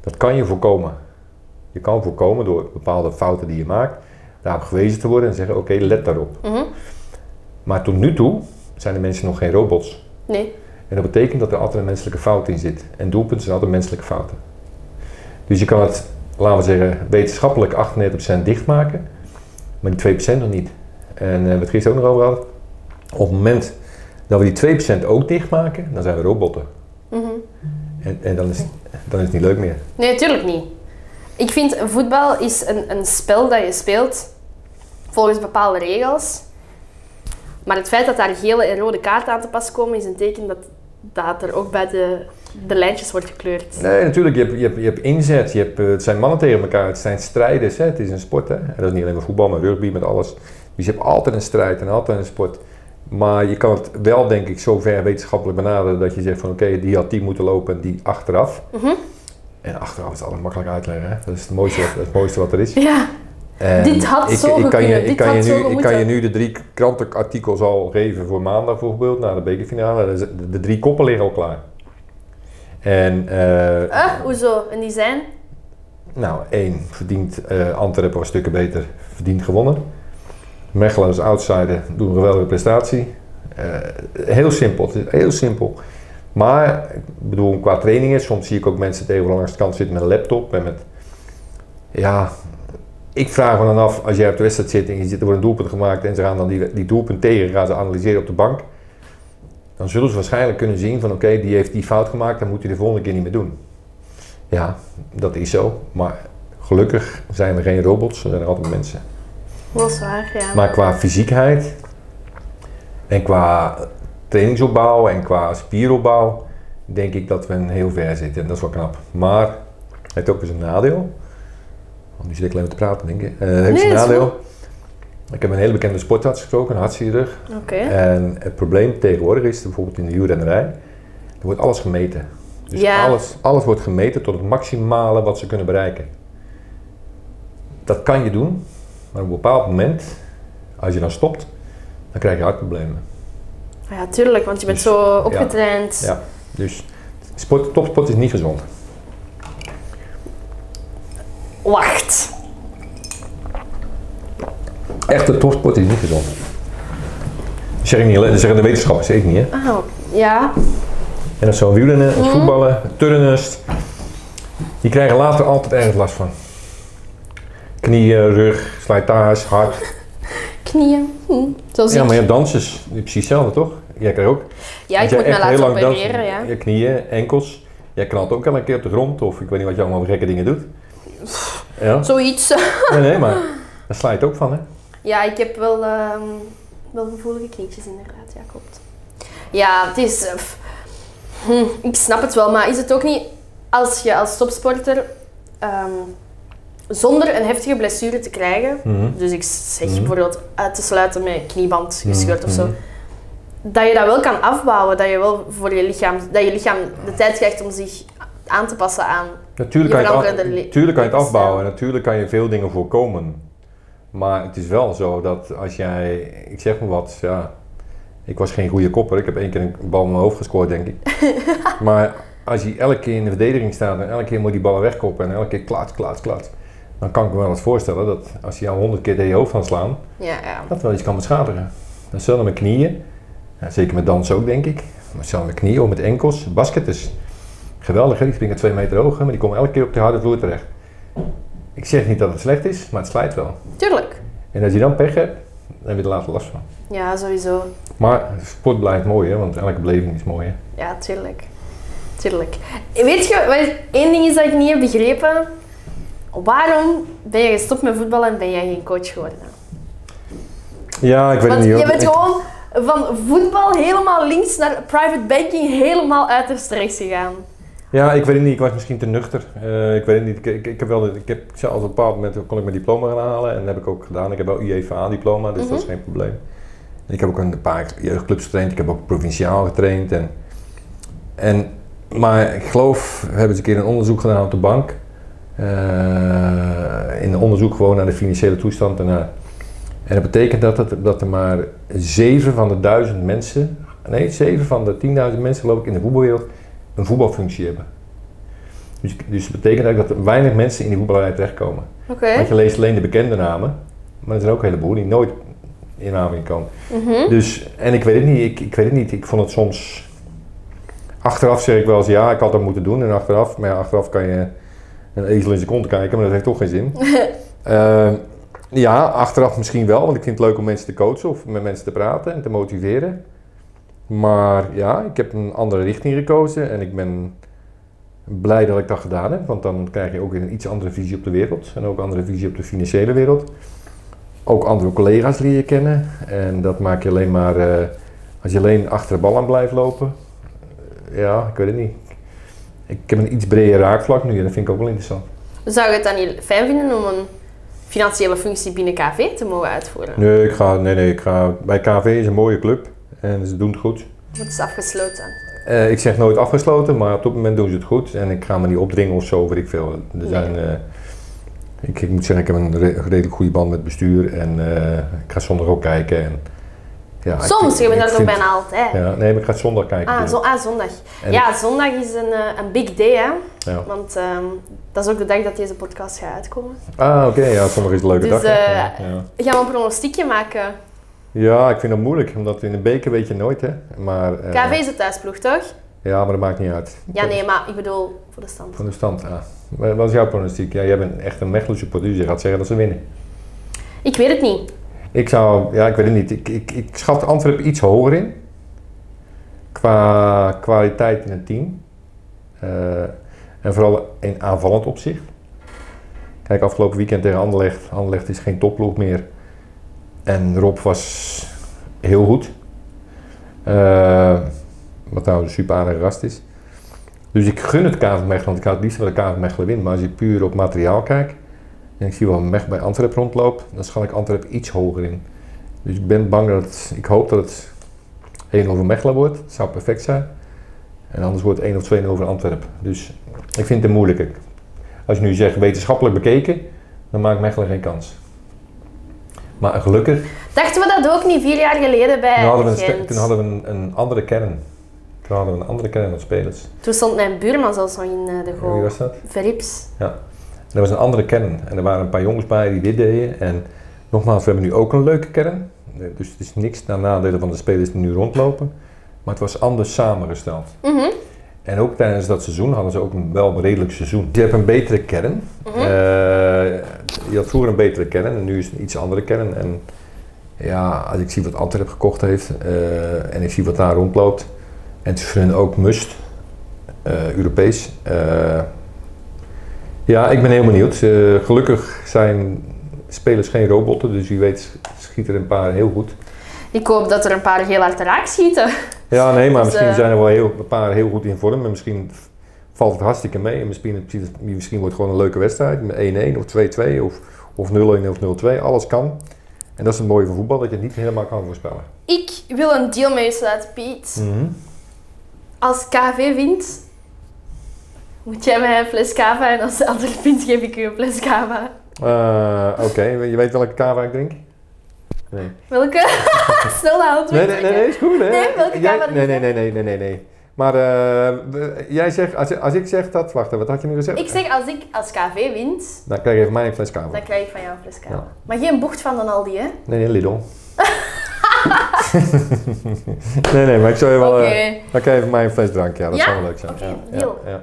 [SPEAKER 1] Dat kan je voorkomen. Je kan voorkomen door bepaalde fouten die je maakt, daarop gewezen te worden en zeggen: oké, let daarop.
[SPEAKER 2] Mhm.
[SPEAKER 1] Maar tot nu toe zijn de mensen nog geen robots.
[SPEAKER 2] Nee.
[SPEAKER 1] En dat betekent dat er altijd een menselijke fout in zit. En doelpunten zijn altijd menselijke fouten. Dus je kan het, laten we zeggen, wetenschappelijk 98% dichtmaken, maar die 2% nog niet. En eh, we hebben het gisteren ook nog over gehad. Op het moment dat we die 2% ook dichtmaken, dan zijn we robotten.
[SPEAKER 2] Mhm.
[SPEAKER 1] En, en dan, is, dan is het niet leuk meer.
[SPEAKER 2] Nee, tuurlijk niet. Ik vind voetbal is een, een spel dat je speelt volgens bepaalde regels. Maar het feit dat daar gele en rode kaarten aan te pas komen, is een teken dat, dat er ook bij de, de lijntjes wordt gekleurd.
[SPEAKER 1] Nee, natuurlijk. Je hebt, je hebt, je hebt inzet. Je hebt, eh, het zijn mannen tegen elkaar. Het zijn strijders. Hè? Het is een sport. Hè? En dat is niet alleen maar voetbal, maar rugby, met alles. Dus je hebt altijd een strijd en altijd een sport. Maar je kan het wel, denk ik, zo ver wetenschappelijk benaderen dat je zegt van oké, die had die moeten lopen en die achteraf.
[SPEAKER 2] Mhm.
[SPEAKER 1] En achteraf is alles makkelijk uitleggen. Hè? Dat is het mooiste, wat- het mooiste wat er is.
[SPEAKER 2] Ja,
[SPEAKER 1] En
[SPEAKER 2] Dit had zo
[SPEAKER 1] kan
[SPEAKER 2] gekund,
[SPEAKER 1] je,
[SPEAKER 2] dit
[SPEAKER 1] ik, kan
[SPEAKER 2] had
[SPEAKER 1] je
[SPEAKER 2] zo
[SPEAKER 1] nu, ik kan je
[SPEAKER 2] gemoeten.
[SPEAKER 1] nu de drie krantenartikels al geven voor maandag bijvoorbeeld, na de bekerfinale. Dus De, de drie koppen liggen al klaar. En eh,
[SPEAKER 2] eh, hoezo? En die zijn?
[SPEAKER 1] nou, één, verdient eh Antwerpen was stukken beter, verdient gewonnen. Mechelen als outsider doen een geweldige prestatie. Eh, heel simpel, het is heel simpel. Maar, ik bedoel, qua trainingen, soms zie ik ook mensen tegenwoordig langs de kant zitten met een laptop en met... Ja, ik vraag me dan af, als jij op de wedstrijd zit en je zit, er wordt een doelpunt gemaakt en ze gaan dan die, die doelpunt tegen, gaan ze analyseren op de bank. Dan zullen ze waarschijnlijk kunnen zien van, oké, die heeft die fout gemaakt, dan moet hij de volgende keer niet meer doen. Ja, dat is zo. Maar gelukkig zijn we geen robots, we zijn er altijd mensen.
[SPEAKER 2] Dat is waar, ja.
[SPEAKER 1] Maar qua fysiekheid en qua trainingsopbouw en qua spieropbouw denk ik dat we een heel ver zitten. En dat is wel knap. Maar het heeft ook eens een nadeel. Want nu zit ik alleen maar te praten, denk ik. Eh, het heeft
[SPEAKER 2] Nee,
[SPEAKER 1] een
[SPEAKER 2] dat is
[SPEAKER 1] nadeel. Ik heb een hele bekende sportarts gesproken, een hartchirurg.
[SPEAKER 2] Oké.
[SPEAKER 1] En het probleem tegenwoordig is, bijvoorbeeld in de wielrennerij, er wordt alles gemeten. Dus
[SPEAKER 2] Ja.
[SPEAKER 1] alles, alles wordt gemeten tot het maximale wat ze kunnen bereiken. Dat kan je doen, maar op een bepaald moment, als je dan stopt, dan krijg je hartproblemen.
[SPEAKER 2] Ja, tuurlijk, want je bent
[SPEAKER 1] Dus-
[SPEAKER 2] zo
[SPEAKER 1] ja.
[SPEAKER 2] opgetraind.
[SPEAKER 1] Ja. Dus sport, topsport is niet gezond.
[SPEAKER 2] Wacht.
[SPEAKER 1] Echte topsport is niet gezond. Dat zeg ik niet alleen, dat zeggen de wetenschappers, zeg ik niet hè.
[SPEAKER 2] Ah, ja.
[SPEAKER 1] En dat zo'n wielrennen, een voetballen, turners. Die krijgen later altijd ergens last van. Knieën, rug, slijtage, hart.
[SPEAKER 2] Knieën. Hm. Zo zie
[SPEAKER 1] Ja,
[SPEAKER 2] ik.
[SPEAKER 1] maar je hebt dansers, die precies hetzelfde toch? Jij krijgt ook.
[SPEAKER 2] Ja, ik
[SPEAKER 1] Als jij
[SPEAKER 2] moet me
[SPEAKER 1] echt
[SPEAKER 2] laten
[SPEAKER 1] heel lang danst,
[SPEAKER 2] opereren, ja.
[SPEAKER 1] Je knieën, enkels. Jij knalt ook elke keer op de grond of ik weet niet wat je allemaal voor gekke dingen doet. Ja,
[SPEAKER 2] Zoiets.
[SPEAKER 1] nee, nee, maar daar sla je het ook van hè.
[SPEAKER 2] Ja, ik heb wel, ehm, wel gevoelige knietjes inderdaad, ja klopt. Ja, het is... eh, pff. Hm, ik snap het wel, maar is het ook niet als je als topsporter ehm, zonder een heftige blessure te krijgen,
[SPEAKER 1] Mhm.
[SPEAKER 2] dus ik zeg
[SPEAKER 1] Mhm.
[SPEAKER 2] bijvoorbeeld uit te sluiten met knieband gescheurd of zo,
[SPEAKER 1] Mhm.
[SPEAKER 2] dat je dat wel kan afbouwen, dat je wel voor je lichaam, dat je lichaam de tijd krijgt om zich aan te passen aan.
[SPEAKER 1] Natuurlijk
[SPEAKER 2] Je
[SPEAKER 1] kan, je het af-
[SPEAKER 2] veranderde le-
[SPEAKER 1] natuurlijk kan je het
[SPEAKER 2] levensstijl.
[SPEAKER 1] afbouwen en natuurlijk kan je veel dingen voorkomen. Maar het is wel zo dat als jij, ik zeg maar wat, ja, ik was geen goede kopper. Ik heb één keer een bal in mijn hoofd gescoord, denk ik. maar als je elke keer in de verdediging staat en elke keer moet die ballen wegkoppen en elke keer klaats, klaats, klaats. Dan kan ik me wel eens voorstellen dat als je jou honderd keer tegen je hoofd gaat slaan,
[SPEAKER 2] Ja, ja.
[SPEAKER 1] dat wel iets kan beschadigen. Dan zullen mijn knieën, ja, zeker met dansen ook denk ik, maar zullen mijn knieën, ook met enkels, basketters. Geweldig hè, die springen twee meter hoog, hè, maar die komen elke keer op de harde vloer terecht. Ik zeg niet dat het slecht is, maar het slijt wel.
[SPEAKER 2] Tuurlijk.
[SPEAKER 1] En als je dan pech hebt, dan heb je er later last van.
[SPEAKER 2] Ja, sowieso.
[SPEAKER 1] Maar sport blijft mooi hè, want elke beleving is mooi hè.
[SPEAKER 2] Ja, tuurlijk. Tuurlijk. Weet je, wat- één ding is dat ik niet heb begrepen. Waarom ben je gestopt met voetballen en ben jij geen coach geworden?
[SPEAKER 1] Ja, ik weet
[SPEAKER 2] Want
[SPEAKER 1] het niet
[SPEAKER 2] je
[SPEAKER 1] hoor.
[SPEAKER 2] bent
[SPEAKER 1] Ik-
[SPEAKER 2] gewoon van voetbal helemaal links naar private banking helemaal uiterst rechts gegaan.
[SPEAKER 1] Ja, ik weet het niet. Ik was misschien te nuchter. Eh, ik weet het niet. Ik, ik, ik heb wel, de- ik heb zelfs op een bepaald moment kon ik mijn diploma gaan halen en dat heb ik ook gedaan. Ik heb wel UEFA-diploma, dus dat is geen probleem. Ik heb ook een paar jeugdclubs getraind. Ik heb ook provinciaal getraind. En, en, maar ik geloof, we hebben eens een keer een onderzoek gedaan op de bank. Eh, in een onderzoek gewoon naar de financiële toestand. En, naar- en dat betekent dat, dat, dat er maar zeven van de duizend mensen, nee, zeven van de 10.000 mensen geloof ik in de voetbalwereld een voetbalfunctie hebben. Dus, dus dat betekent eigenlijk dat er weinig mensen in die voetballerij terechtkomen.
[SPEAKER 2] Oké.
[SPEAKER 1] Want je leest alleen de bekende namen, maar er zijn ook een heleboel die nooit in aanmerking komen.
[SPEAKER 2] Mhm.
[SPEAKER 1] Dus, en ik weet het niet, ik, ik weet het niet. Ik vond het soms. Achteraf zeg ik wel eens ja, ik had dat moeten doen. En achteraf, maar ja, achteraf kan je een ezel in zijn kont kijken, maar dat heeft toch geen zin. Eh, ja, achteraf misschien wel, want ik vind het leuk om mensen te coachen of met mensen te praten en te motiveren. Maar ja, ik heb een andere richting gekozen en ik ben blij dat ik dat gedaan heb, want dan krijg je ook weer een iets andere visie op de wereld en ook een andere visie op de financiële wereld ook andere collega's leer je kennen. En dat maak je alleen maar eh, als je alleen achter de bal aan blijft lopen. eh, ja, ik weet het niet. Ik heb een iets breder raakvlak nu en dat vind ik ook wel interessant.
[SPEAKER 2] Zou je het dan niet fijn vinden om een financiële functie binnen KV te mogen uitvoeren?
[SPEAKER 1] Nee, ik ga, nee, nee, ik ga, bij KV is een mooie club en ze doen het goed.
[SPEAKER 2] Dat is afgesloten.
[SPEAKER 1] Eh, ik zeg nooit afgesloten, maar op dit moment doen ze het goed. En ik ga me niet opdringen of zo, weet ik veel. Er zijn, eh, ik, ik moet zeggen, ik heb een re- redelijk goede band met het bestuur. En eh, ik ga zondag ook kijken. En, ja, ik-
[SPEAKER 2] Soms, je
[SPEAKER 1] ik
[SPEAKER 2] bent daar nog
[SPEAKER 1] vind-
[SPEAKER 2] bijna altijd.
[SPEAKER 1] Ja, nee, maar ik ga zondag kijken.
[SPEAKER 2] Ah,
[SPEAKER 1] dus.
[SPEAKER 2] zo, ah, zondag.
[SPEAKER 1] En-
[SPEAKER 2] ja, zondag is een, eh, een big day, hè?
[SPEAKER 1] Ja.
[SPEAKER 2] Want ehm, dat is ook de dag dat deze podcast gaat uitkomen.
[SPEAKER 1] Ah, oké. Ja, zondag is een leuke
[SPEAKER 2] Dus,
[SPEAKER 1] dag. hè.
[SPEAKER 2] eh,
[SPEAKER 1] ja, ja.
[SPEAKER 2] Gaan we een pronostiekje maken?
[SPEAKER 1] Ja, ik vind dat moeilijk, omdat in de beker weet je nooit, hè. Maar, eh,
[SPEAKER 2] KV is de thuisploeg, toch?
[SPEAKER 1] Ja, maar dat maakt niet uit.
[SPEAKER 2] Ja, nee, maar ik bedoel voor de stand.
[SPEAKER 1] Van de stand, ah. Wa- Wat is jouw pronostiek? Ja, jij bent echt een Mechelse supporter, dus je gaat zeggen dat ze winnen.
[SPEAKER 2] Ik weet het niet.
[SPEAKER 1] Ik zou, ja, ik weet het niet. Ik, ik, ik schat Antwerpen iets hoger in. Qua kwaliteit in het team. Eh, en vooral in aanvallend opzicht. Kijk, afgelopen weekend tegen Anderlecht. Anderlecht is geen topploeg meer. En Rob was heel goed. Eh, wat nou een super aardige gast is. Dus ik gun het KV Mechelen, want ik had het liefst dat de KV Mechelen wint. Maar als je puur op materiaal kijkt, en ik zie wel Mech bij Antwerp rondloopt, dan schat ik Antwerp iets hoger in. Dus ik ben bang dat het, ik hoop dat het 1 over Mechelen wordt. Dat zou perfect zijn. En anders wordt het 1 of 2 over Antwerp. Dus ik vind het moeilijker. Als je nu zegt wetenschappelijk bekeken, dan maakt Mechelen geen kans. Maar gelukkig
[SPEAKER 2] Dachten we dat ook niet vier jaar geleden bij
[SPEAKER 1] toen hadden we, een,
[SPEAKER 2] Gent?
[SPEAKER 1] spe- toen hadden we een, een andere kern. Toen hadden we een andere kern aan spelers.
[SPEAKER 2] Toen stond mijn buurman zelfs nog in eh, de
[SPEAKER 1] Wie
[SPEAKER 2] goal.
[SPEAKER 1] was dat?
[SPEAKER 2] Verrips.
[SPEAKER 1] Er was een andere kern. En er waren een paar jongens bij die dit deden. En nogmaals, we hebben nu ook een leuke kern. Eh, Dus het is niks naar nadelen van de spelers die nu rondlopen. Maar het was anders samengesteld.
[SPEAKER 2] Mhm.
[SPEAKER 1] En ook tijdens dat seizoen hadden ze ook een wel een redelijk seizoen. Je hebt een betere kern.
[SPEAKER 2] Mhm.
[SPEAKER 1] Eh, je had vroeger een betere kern en nu is het een iets andere kern. En ja, als ik zie wat Antwerp gekocht heeft eh, en ik zie wat daar rondloopt. En het is voor hun ook must, eh, Europees. Eh, ja, ik ben heel benieuwd. Eh, gelukkig zijn spelers geen robotten, dus wie weet schiet er een paar heel goed.
[SPEAKER 2] Ik hoop dat er een paar heel hard raak schieten.
[SPEAKER 1] Ja, nee, maar
[SPEAKER 2] Dus,
[SPEAKER 1] misschien
[SPEAKER 2] eh,
[SPEAKER 1] zijn er wel heel, een paar heel goed in vorm. En misschien valt het hartstikke mee. En misschien, misschien wordt het gewoon een leuke wedstrijd. Met 1-1 of 2-2 of, of 0-1 of 0-2. Alles kan. En dat is het mooie van voetbal, dat je het niet helemaal kan voorspellen.
[SPEAKER 2] Ik wil een deal met je sluiten, Piet. Als KV wint, moet jij mij een fles kava en als de andere wint, geef ik u een fles kava.
[SPEAKER 1] Eh, Oké, je weet welke kava ik drink? Nee.
[SPEAKER 2] Welke? Snel de hand
[SPEAKER 1] Nee, nee, nee, nee, is goed hè?
[SPEAKER 2] Nee, welke
[SPEAKER 1] Jij-
[SPEAKER 2] kava
[SPEAKER 1] nee, nee,
[SPEAKER 2] drink
[SPEAKER 1] nee,
[SPEAKER 2] jij?
[SPEAKER 1] nee, nee, nee, nee. Maar eh, we- jij zegt, als, als ik zeg dat, wacht, wat had je nu gezegd?
[SPEAKER 2] Ik zeg, als ik als KV wint,
[SPEAKER 1] Dan krijg je van mij een fles kava.
[SPEAKER 2] dan krijg ik van jou een fles kava.
[SPEAKER 1] Ja.
[SPEAKER 2] Maar geen bocht van Donaldi, hè?
[SPEAKER 1] Nee, nee, Lidl. nee, nee, maar ik zou je wel... eh,
[SPEAKER 2] Oké.
[SPEAKER 1] dan krijg je van mij een fles drank, ja. Dat
[SPEAKER 2] Ja?
[SPEAKER 1] zou wel leuk zijn.
[SPEAKER 2] Oké,
[SPEAKER 1] ja,
[SPEAKER 2] deal.
[SPEAKER 1] Ja, ja.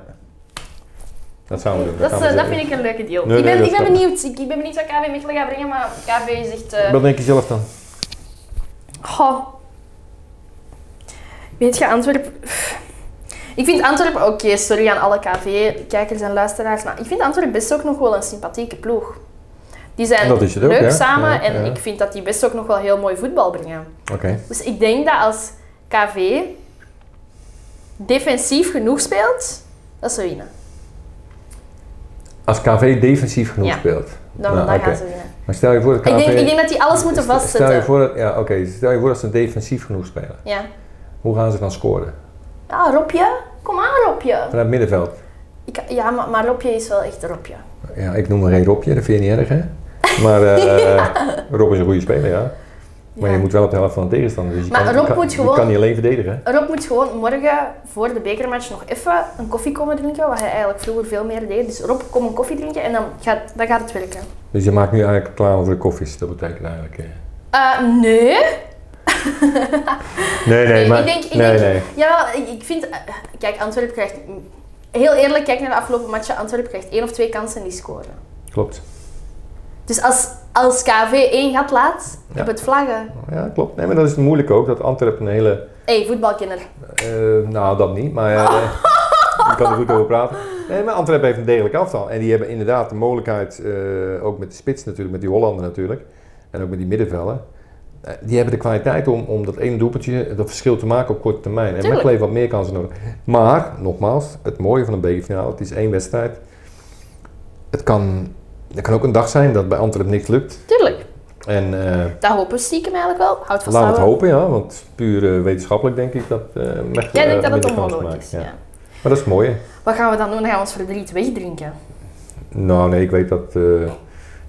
[SPEAKER 1] Dat zouden we doen.
[SPEAKER 2] Dat, is,
[SPEAKER 1] gaan
[SPEAKER 2] eh,
[SPEAKER 1] we
[SPEAKER 2] dat
[SPEAKER 1] zeker
[SPEAKER 2] vind ik een leuke deal.
[SPEAKER 1] Nee,
[SPEAKER 2] ik, ben,
[SPEAKER 1] nee, dat
[SPEAKER 2] ik ben
[SPEAKER 1] snap ik.
[SPEAKER 2] benieuwd. Ik, ik ben benieuwd wat KV Mechelen gaat brengen, maar KV is echt... eh,
[SPEAKER 1] doen. Wat denk je zelf dan?
[SPEAKER 2] Goh. Weet je, Antwerpen... Ik vind Antwerpen... Oké, sorry aan alle KV-kijkers en luisteraars, maar ik vind Antwerpen best ook nog wel een sympathieke ploeg. Die zijn
[SPEAKER 1] Dat is het ook,
[SPEAKER 2] leuk
[SPEAKER 1] hè?
[SPEAKER 2] samen
[SPEAKER 1] Ja,
[SPEAKER 2] en
[SPEAKER 1] ja.
[SPEAKER 2] ik vind dat die best ook nog wel heel mooi voetbal brengen.
[SPEAKER 1] Oké.
[SPEAKER 2] Dus ik denk dat als KV defensief genoeg speelt, dat ze winnen.
[SPEAKER 1] Als KV defensief genoeg
[SPEAKER 2] Ja.
[SPEAKER 1] speelt.
[SPEAKER 2] Dan,
[SPEAKER 1] Nou,
[SPEAKER 2] dan
[SPEAKER 1] oké.
[SPEAKER 2] gaan ze winnen.
[SPEAKER 1] Maar stel je voor dat KV...
[SPEAKER 2] Ik denk, ik denk dat die alles moeten vastzetten.
[SPEAKER 1] Stel je voor dat, ja, oké. Stel je voor dat ze defensief genoeg spelen.
[SPEAKER 2] Ja.
[SPEAKER 1] Hoe gaan ze dan scoren?
[SPEAKER 2] Ah, Robje? Kom aan, Robje.
[SPEAKER 1] Vanuit het middenveld.
[SPEAKER 2] Ik, ja, maar, maar Robje is wel echt Robje.
[SPEAKER 1] Ja, ik noem er geen Robje, dat vind je niet erg, hè? Maar eh, Rob is een goede speler, ja. Maar
[SPEAKER 2] Ja.
[SPEAKER 1] je moet wel op de helft van de tegenstander. Dus je
[SPEAKER 2] Maar
[SPEAKER 1] kan,
[SPEAKER 2] Rob
[SPEAKER 1] je kan,
[SPEAKER 2] moet
[SPEAKER 1] je
[SPEAKER 2] gewoon-
[SPEAKER 1] kan niet alleen verdedigen. hè?
[SPEAKER 2] Rob moet gewoon morgen voor de bekermatch nog even een koffie komen drinken, wat hij eigenlijk vroeger veel meer deed. Dus Rob, kom een koffie drinken en dan gaat, dan gaat het werken.
[SPEAKER 1] Dus je maakt nu eigenlijk klaar over de koffies, dat betekent eigenlijk. eh,
[SPEAKER 2] Eh, nee.
[SPEAKER 1] Nee, nee,
[SPEAKER 2] Ik-
[SPEAKER 1] maar.
[SPEAKER 2] ik denk, ik
[SPEAKER 1] nee,
[SPEAKER 2] denk,
[SPEAKER 1] nee.
[SPEAKER 2] Ja, ik, ik vind... eh, Kijk, Antwerp krijgt... mm, Heel eerlijk, kijk naar de afgelopen matchen. Antwerp krijgt één of twee kansen en die scoren.
[SPEAKER 1] Klopt.
[SPEAKER 2] Dus als, als KV één gat laat,
[SPEAKER 1] Ja.
[SPEAKER 2] op het vlaggen.
[SPEAKER 1] Ja, klopt. Nee, maar dat is het moeilijke ook, dat Antwerpen een hele.
[SPEAKER 2] Hé, hey, voetbalkenner.
[SPEAKER 1] eh, nou, dat niet, maar. eh ik kan er goed over praten. Nee, maar Antwerpen heeft een degelijk aftal. En die hebben inderdaad de mogelijkheid, eh, ook met de spits natuurlijk, met die Hollander natuurlijk. En ook met die middenvelden. eh, die hebben de kwaliteit om, om dat ene doelpuntje, dat verschil te maken op korte termijn. En
[SPEAKER 2] Tuurlijk.
[SPEAKER 1] Mechelen heeft wat meer kansen nodig. Maar, nogmaals, het mooie van een bekerfinale, het is één wedstrijd. Het kan, er kan ook een dag zijn dat bij Antwerpen niks lukt.
[SPEAKER 2] Tuurlijk.
[SPEAKER 1] En eh
[SPEAKER 2] Dat hopen we stiekem eigenlijk wel. Houd vast
[SPEAKER 1] laten we het hopen,
[SPEAKER 2] houden.
[SPEAKER 1] ja, want puur eh, wetenschappelijk denk ik dat eh Mechelen
[SPEAKER 2] Jij denkt
[SPEAKER 1] eh,
[SPEAKER 2] dat het
[SPEAKER 1] minder kansen
[SPEAKER 2] onmogelijk
[SPEAKER 1] maakt,
[SPEAKER 2] is.
[SPEAKER 1] ja.
[SPEAKER 2] ja.
[SPEAKER 1] Maar dat is het mooie.
[SPEAKER 2] Wat gaan we dan doen? Dan gaan we ons verdriet wegdrinken.
[SPEAKER 1] Nou, nee, ik weet dat eh,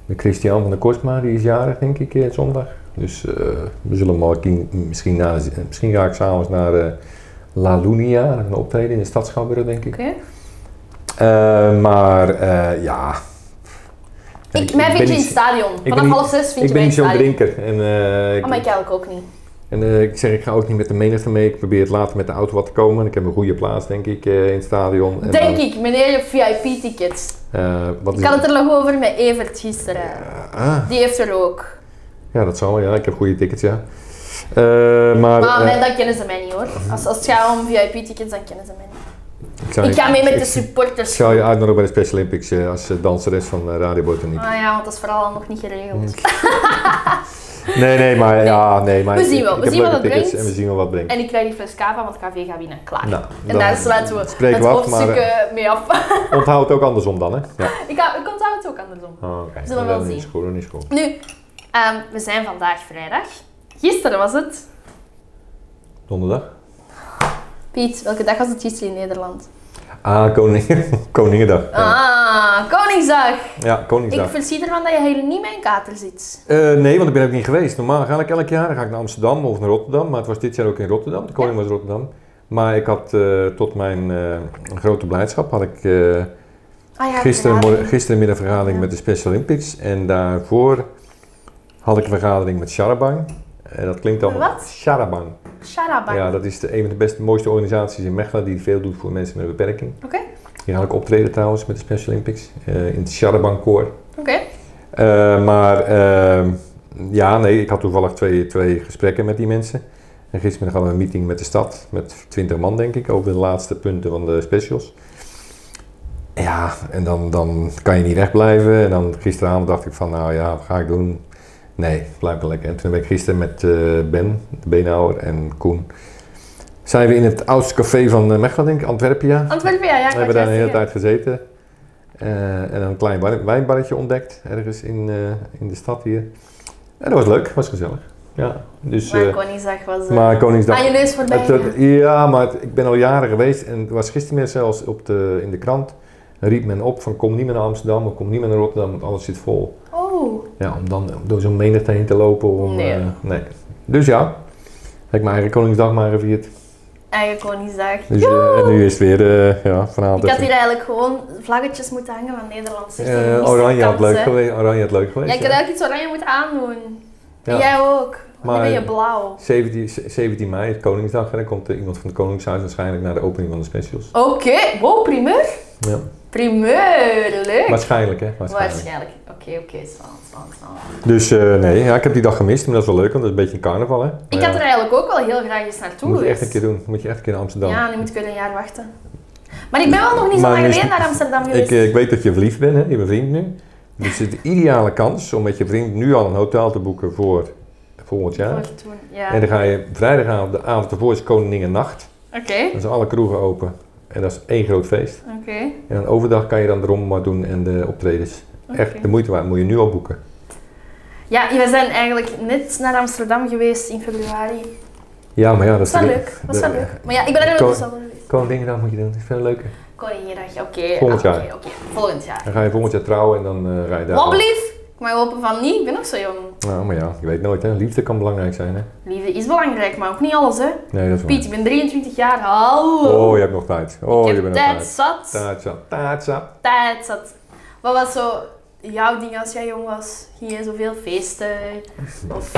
[SPEAKER 1] de Christian van der Kostma, die is jarig, denk ik, eh, zondag. Dus eh, we zullen maar ki- misschien, na, misschien ga ik s'avonds naar eh, La Lunia, een optreden in de stad Schouwburg, denk ik.
[SPEAKER 2] Oké?
[SPEAKER 1] Eh, maar eh, ja.
[SPEAKER 2] Ik, mij
[SPEAKER 1] ben
[SPEAKER 2] vind je in
[SPEAKER 1] niet-
[SPEAKER 2] het stadion.
[SPEAKER 1] ben
[SPEAKER 2] Vanaf
[SPEAKER 1] niet-
[SPEAKER 2] half zes vind
[SPEAKER 1] Ik
[SPEAKER 2] je
[SPEAKER 1] ben
[SPEAKER 2] mij in
[SPEAKER 1] niet
[SPEAKER 2] het
[SPEAKER 1] zo'n
[SPEAKER 2] stadion.
[SPEAKER 1] drinker. En, eh, ik-
[SPEAKER 2] Oh, maar ik eigenlijk ook niet.
[SPEAKER 1] En eh, ik zeg, ik ga ook niet met de menigte mee. Ik probeer het later met de auto wat te komen. Ik heb een goede plaats, denk ik, eh, in het stadion. En
[SPEAKER 2] Denk
[SPEAKER 1] dan,
[SPEAKER 2] ik, meneer, je VIP-tickets.
[SPEAKER 1] eh, wat
[SPEAKER 2] Ik
[SPEAKER 1] is
[SPEAKER 2] had het eh? er nog over met Evert gisteren.
[SPEAKER 1] Ah,
[SPEAKER 2] Die heeft er ook.
[SPEAKER 1] ja, dat zal wel. Ja, ik heb goede tickets, ja. Eh, maar
[SPEAKER 2] Maar
[SPEAKER 1] eh,
[SPEAKER 2] mij, dat kennen ze mij niet hoor. Als, als het gaat om VIP-tickets, dan kennen ze mij niet.
[SPEAKER 1] ik, zou
[SPEAKER 2] ik ga mee met de
[SPEAKER 1] Ik, ik
[SPEAKER 2] supporters.
[SPEAKER 1] zou je uitnodigen bij de Special Olympics eh, als eh, danseres van eh, Radio Botaniek.
[SPEAKER 2] Ah ja, want dat is vooral nog niet geregeld.
[SPEAKER 1] Nee, nee, maar ja, nee. Maar
[SPEAKER 2] We zien wel,
[SPEAKER 1] ik
[SPEAKER 2] we
[SPEAKER 1] heb
[SPEAKER 2] zien
[SPEAKER 1] leuke
[SPEAKER 2] wat het
[SPEAKER 1] tickets
[SPEAKER 2] brengt.
[SPEAKER 1] En we zien wel wat het brengt.
[SPEAKER 2] En ik krijg die fles cava, want KV gaat winnen. Klaar.
[SPEAKER 1] Nou,
[SPEAKER 2] en
[SPEAKER 1] dan
[SPEAKER 2] daar sluiten we
[SPEAKER 1] spreken
[SPEAKER 2] het
[SPEAKER 1] we af, maar,
[SPEAKER 2] hoofdstuk eh, mee af.
[SPEAKER 1] Onthoud het ook andersom dan, hè? Ja.
[SPEAKER 2] ik, hou- ik onthoud het ook andersom.
[SPEAKER 1] Oh, Oké.
[SPEAKER 2] Zullen we
[SPEAKER 1] Dan
[SPEAKER 2] wel
[SPEAKER 1] Is
[SPEAKER 2] zien.
[SPEAKER 1] goed, dan is goed.
[SPEAKER 2] Nu, ehm, we zijn vandaag vrijdag. Gisteren was het.
[SPEAKER 1] Donderdag.
[SPEAKER 2] Piet, welke dag was het gisteren in Nederland?
[SPEAKER 1] Ah, koning, Koningendag. Ja,
[SPEAKER 2] Ah, Koningsdag.
[SPEAKER 1] Ja, Koningsdag.
[SPEAKER 2] Ik verzie ervan dat je helemaal niet meer in kater zit.
[SPEAKER 1] Eh, nee, want ik ben ook niet geweest. Normaal ga ik elk jaar dan ga ik naar Amsterdam of naar Rotterdam. Maar het was dit jaar ook in Rotterdam. De koning was Rotterdam. Maar ik had eh, tot mijn eh, grote blijdschap had ik eh
[SPEAKER 2] Ah, ja,
[SPEAKER 1] gisteren,
[SPEAKER 2] vergadering.
[SPEAKER 1] gisterenmiddag een vergadering
[SPEAKER 2] Ja.
[SPEAKER 1] met de Special Olympics. En daarvoor had ik een vergadering met Sharabang. En dat klinkt allemaal...
[SPEAKER 2] Wat?
[SPEAKER 1] Sharabang.
[SPEAKER 2] Sharabang.
[SPEAKER 1] Ja, dat is de, een van de beste, mooiste organisaties in Mechelen die veel doet voor mensen met een beperking.
[SPEAKER 2] Oké,
[SPEAKER 1] Hier ga ik optreden trouwens met de Special Olympics eh, in het Sharabang Koor.
[SPEAKER 2] oké.
[SPEAKER 1] Eh, maar ehm, ja, nee, ik had toevallig twee, twee gesprekken met die mensen. En gistermiddag hadden we een meeting met de stad, met 20 man denk ik, over de laatste punten van de specials. Ja, en dan, dan kan je niet recht blijven. En dan gisteravond dacht ik van, nou ja, wat ga ik doen? Nee, blijf wel lekker. En toen ben ik gisteren met eh, Ben, de Beenhouwer en Koen, zijn we in het oudste café van eh, Mechelen, denk ik, Antwerpia.
[SPEAKER 2] Antwerpen, ja, ja. ik
[SPEAKER 1] We hebben
[SPEAKER 2] had
[SPEAKER 1] daar een
[SPEAKER 2] juist
[SPEAKER 1] hele
[SPEAKER 2] gezien.
[SPEAKER 1] tijd gezeten. Eh, en een klein bar- wijnbarretje ontdekt, ergens in, eh, in de stad hier. En dat was leuk, was gezellig. Ja, dus,
[SPEAKER 2] Maar
[SPEAKER 1] eh,
[SPEAKER 2] Koningsdag was... eh,
[SPEAKER 1] maar Koningsdag...
[SPEAKER 2] aan je neus voorbij.
[SPEAKER 1] Het, het- ja, maar het- ik ben al jaren geweest en er was gistermiddag zelfs op de, in de krant. riep men op van kom niet meer naar Amsterdam of kom niet meer naar Rotterdam, want alles zit vol.
[SPEAKER 2] Oh.
[SPEAKER 1] Ja, om dan door zo'n menigte heen te lopen. Om,
[SPEAKER 2] Nee.
[SPEAKER 1] eh, nee. Dus ja, heb ik mijn eigen Koningsdag maar gevierd.
[SPEAKER 2] Eigen Koningsdag.
[SPEAKER 1] Dus, eh, en nu is het weer, eh, ja, vanavond
[SPEAKER 2] Ik had
[SPEAKER 1] even-
[SPEAKER 2] hier eigenlijk gewoon vlaggetjes moeten hangen van Nederland. zeg, dat
[SPEAKER 1] Eh,
[SPEAKER 2] miste
[SPEAKER 1] oranje had
[SPEAKER 2] kans,
[SPEAKER 1] leuk
[SPEAKER 2] hè.
[SPEAKER 1] geweest. Oranje had leuk geweest.
[SPEAKER 2] Ja, ik
[SPEAKER 1] ja.
[SPEAKER 2] had eigenlijk iets oranje moeten aandoen. En
[SPEAKER 1] Ja.
[SPEAKER 2] jij ook. Maar...
[SPEAKER 1] Maar-
[SPEAKER 2] Nu ben je blauw.
[SPEAKER 1] 17, 17 mei, het Koningsdag, en dan komt er iemand van het Koningshuis waarschijnlijk naar de opening van de specials.
[SPEAKER 2] Oké, wow, primeur.
[SPEAKER 1] Ja.
[SPEAKER 2] Primeur, leuk.
[SPEAKER 1] Waarschijnlijk, hè? Waarschijnlijk.
[SPEAKER 2] Waarschijnlijk. Oké, oké, spannend, spannend, spannend.
[SPEAKER 1] Dus eh, nee, ja, ik heb die dag gemist, maar dat is wel leuk, want dat is een beetje een carnaval, hè? Maar
[SPEAKER 2] Ik
[SPEAKER 1] ja,
[SPEAKER 2] had er eigenlijk ook wel heel graag eens naartoe
[SPEAKER 1] moet je echt
[SPEAKER 2] geweest.
[SPEAKER 1] een keer doen. Moet je echt een keer naar Amsterdam.
[SPEAKER 2] Ja, nu moet ik weer een jaar wachten. Maar ik ben wel nog niet zo
[SPEAKER 1] Maar
[SPEAKER 2] lang
[SPEAKER 1] nu is-
[SPEAKER 2] geleden naar Amsterdam geweest.
[SPEAKER 1] ik, eh, ik weet dat je verliefd bent, hè? Je bent vriend nu. Dus het is de ideale kans om met je vriend nu al een hotel te boeken voor volgend jaar.
[SPEAKER 2] Voor toen, ja.
[SPEAKER 1] En dan ga je vrijdagavond, de avond ervoor is Koningennacht.
[SPEAKER 2] Oké,
[SPEAKER 1] Dan zijn alle kroegen open. En dat is één groot feest.
[SPEAKER 2] oké.
[SPEAKER 1] En dan overdag kan je dan de rommelmarkt doen en de optredens. Echt de moeite waard, moet je nu al boeken.
[SPEAKER 2] Ja, we zijn eigenlijk net naar Amsterdam geweest in februari.
[SPEAKER 1] Ja, maar ja, dat
[SPEAKER 2] Dat
[SPEAKER 1] is
[SPEAKER 2] was wel
[SPEAKER 1] de-
[SPEAKER 2] leuk, dat was wel
[SPEAKER 1] de-
[SPEAKER 2] leuk. Maar ja, ik ben er
[SPEAKER 1] Ko-
[SPEAKER 2] nog niet zo lang geweest.
[SPEAKER 1] Koningendag moet je doen, dat is veel leuker.
[SPEAKER 2] Koninginnedag, oké.
[SPEAKER 1] Volgend
[SPEAKER 2] ah,
[SPEAKER 1] jaar.
[SPEAKER 2] Oké, oké, volgend jaar.
[SPEAKER 1] Dan ga je volgend jaar trouwen en dan eh, rij je daar.
[SPEAKER 2] Wat blief? Ik mag hopen van niet, ik ben nog zo jong.
[SPEAKER 1] Nou, maar ja, je weet nooit hè. Liefde kan belangrijk zijn hè.
[SPEAKER 2] Liefde is belangrijk, maar ook niet alles hè.
[SPEAKER 1] Nee, dat is waar.
[SPEAKER 2] Piet, ik ben 23 jaar, hallo.
[SPEAKER 1] Oh, je hebt nog tijd. Oh,
[SPEAKER 2] ik
[SPEAKER 1] je
[SPEAKER 2] heb
[SPEAKER 1] bent nog
[SPEAKER 2] tijd
[SPEAKER 1] tijd.
[SPEAKER 2] zat,
[SPEAKER 1] Tijd zat, tijd zat.
[SPEAKER 2] tijd zat. Wat was zo jouw ding als jij jong was? Ging je zoveel feesten? Of...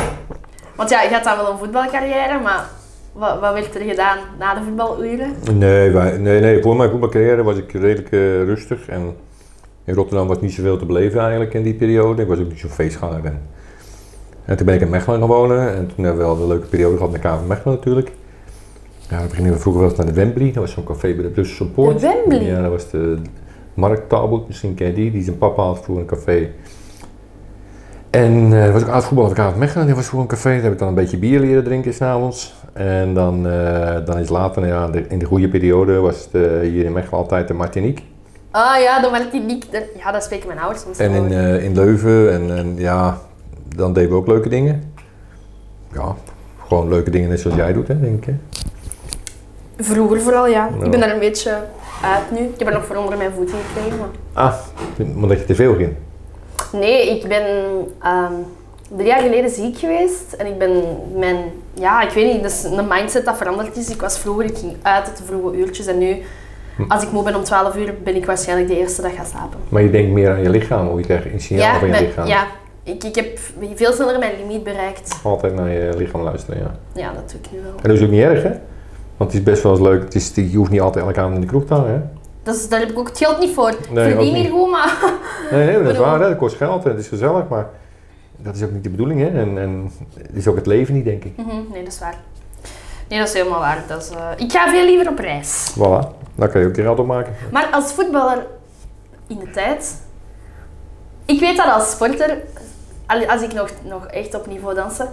[SPEAKER 2] Want ja, je had dan wel een voetbalcarrière, maar wat, wat werd er gedaan na de voetbaluren?
[SPEAKER 1] Nee, wij, nee, nee, voor mijn voetbalcarrière was ik redelijk eh, rustig en in Rotterdam was niet zoveel te beleven eigenlijk in die periode. Ik was ook niet zo'n feestganger. En, en toen ben ik in Mechelen gaan wonen en toen hebben we wel een leuke periode gehad met KV Mechelen natuurlijk. Ja, we gingen vroeger wel eens naar de Wembley, dat was zo'n café bij de Brusselse Poort.
[SPEAKER 2] De Wembley?
[SPEAKER 1] Ja, dat was de Mark Talbot, misschien ken je die, die zijn papa had vroeger een café. En eh was ik oud voetballer van KV Mechelen, die was vroeger een café, daar heb ik dan een beetje bier leren drinken s'avonds. En dan, eh, dan is later, nou ja, de- in de goede periode, was het eh, hier in Mechelen altijd de Martinique.
[SPEAKER 2] Ah ja, de Martinique. de- Ja, dat spreken mijn ouders soms
[SPEAKER 1] En
[SPEAKER 2] wel.
[SPEAKER 1] in, eh, in Leuven en, en ja, dan deden we ook leuke dingen. Ja, gewoon leuke dingen net zoals jij doet, hè, denk ik. hè.
[SPEAKER 2] Vroeger vooral, ja.
[SPEAKER 1] eh, Ja.
[SPEAKER 2] Ik ben er een beetje uit nu. Ik heb er nog voor onder mijn voeten gekregen. maar-
[SPEAKER 1] Ah, omdat je te veel ging.
[SPEAKER 2] Nee, ik ben ehm, drie jaar geleden ziek geweest. En ik ben mijn... Ja, ik weet niet. Dat is een mindset dat veranderd is. Ik was vroeger, ik ging uit tot de vroege uurtjes. En nu,
[SPEAKER 1] Hm.
[SPEAKER 2] als ik moe ben om 12 uur, ben ik waarschijnlijk de eerste dag gaan slapen.
[SPEAKER 1] Maar je denkt meer aan je lichaam, hoe je krijgt een signaal van je
[SPEAKER 2] mijn-
[SPEAKER 1] lichaam.
[SPEAKER 2] ja ik, ik heb veel sneller mijn limiet bereikt.
[SPEAKER 1] Altijd naar je lichaam luisteren, ja.
[SPEAKER 2] Ja, dat doe ik nu wel.
[SPEAKER 1] En dat is ook niet erg, hè? Want het is best wel eens leuk. Het is, je hoeft niet altijd elke avond in de kroeg te hangen, hè?
[SPEAKER 2] Dat is, Dus daar heb ik ook het geld niet voor. Ik
[SPEAKER 1] Nee, ook
[SPEAKER 2] Verdien hier
[SPEAKER 1] niet.
[SPEAKER 2] goed, maar...
[SPEAKER 1] Nee, nee, maar dat is
[SPEAKER 2] Bedoel-
[SPEAKER 1] waar, hè? Dat kost geld en het is gezellig, maar dat is ook niet de bedoeling, hè? En, en het is ook het leven niet, denk ik.
[SPEAKER 2] Mhm, nee, dat is waar. Nee, dat is helemaal waar. Dat is, eh, ik ga veel liever op reis.
[SPEAKER 1] Voilà, daar kan je ook je geld op maken.
[SPEAKER 2] Maar als voetballer in de tijd. Ik weet dat als sporter al- als ik nog, nog echt op niveau dansen,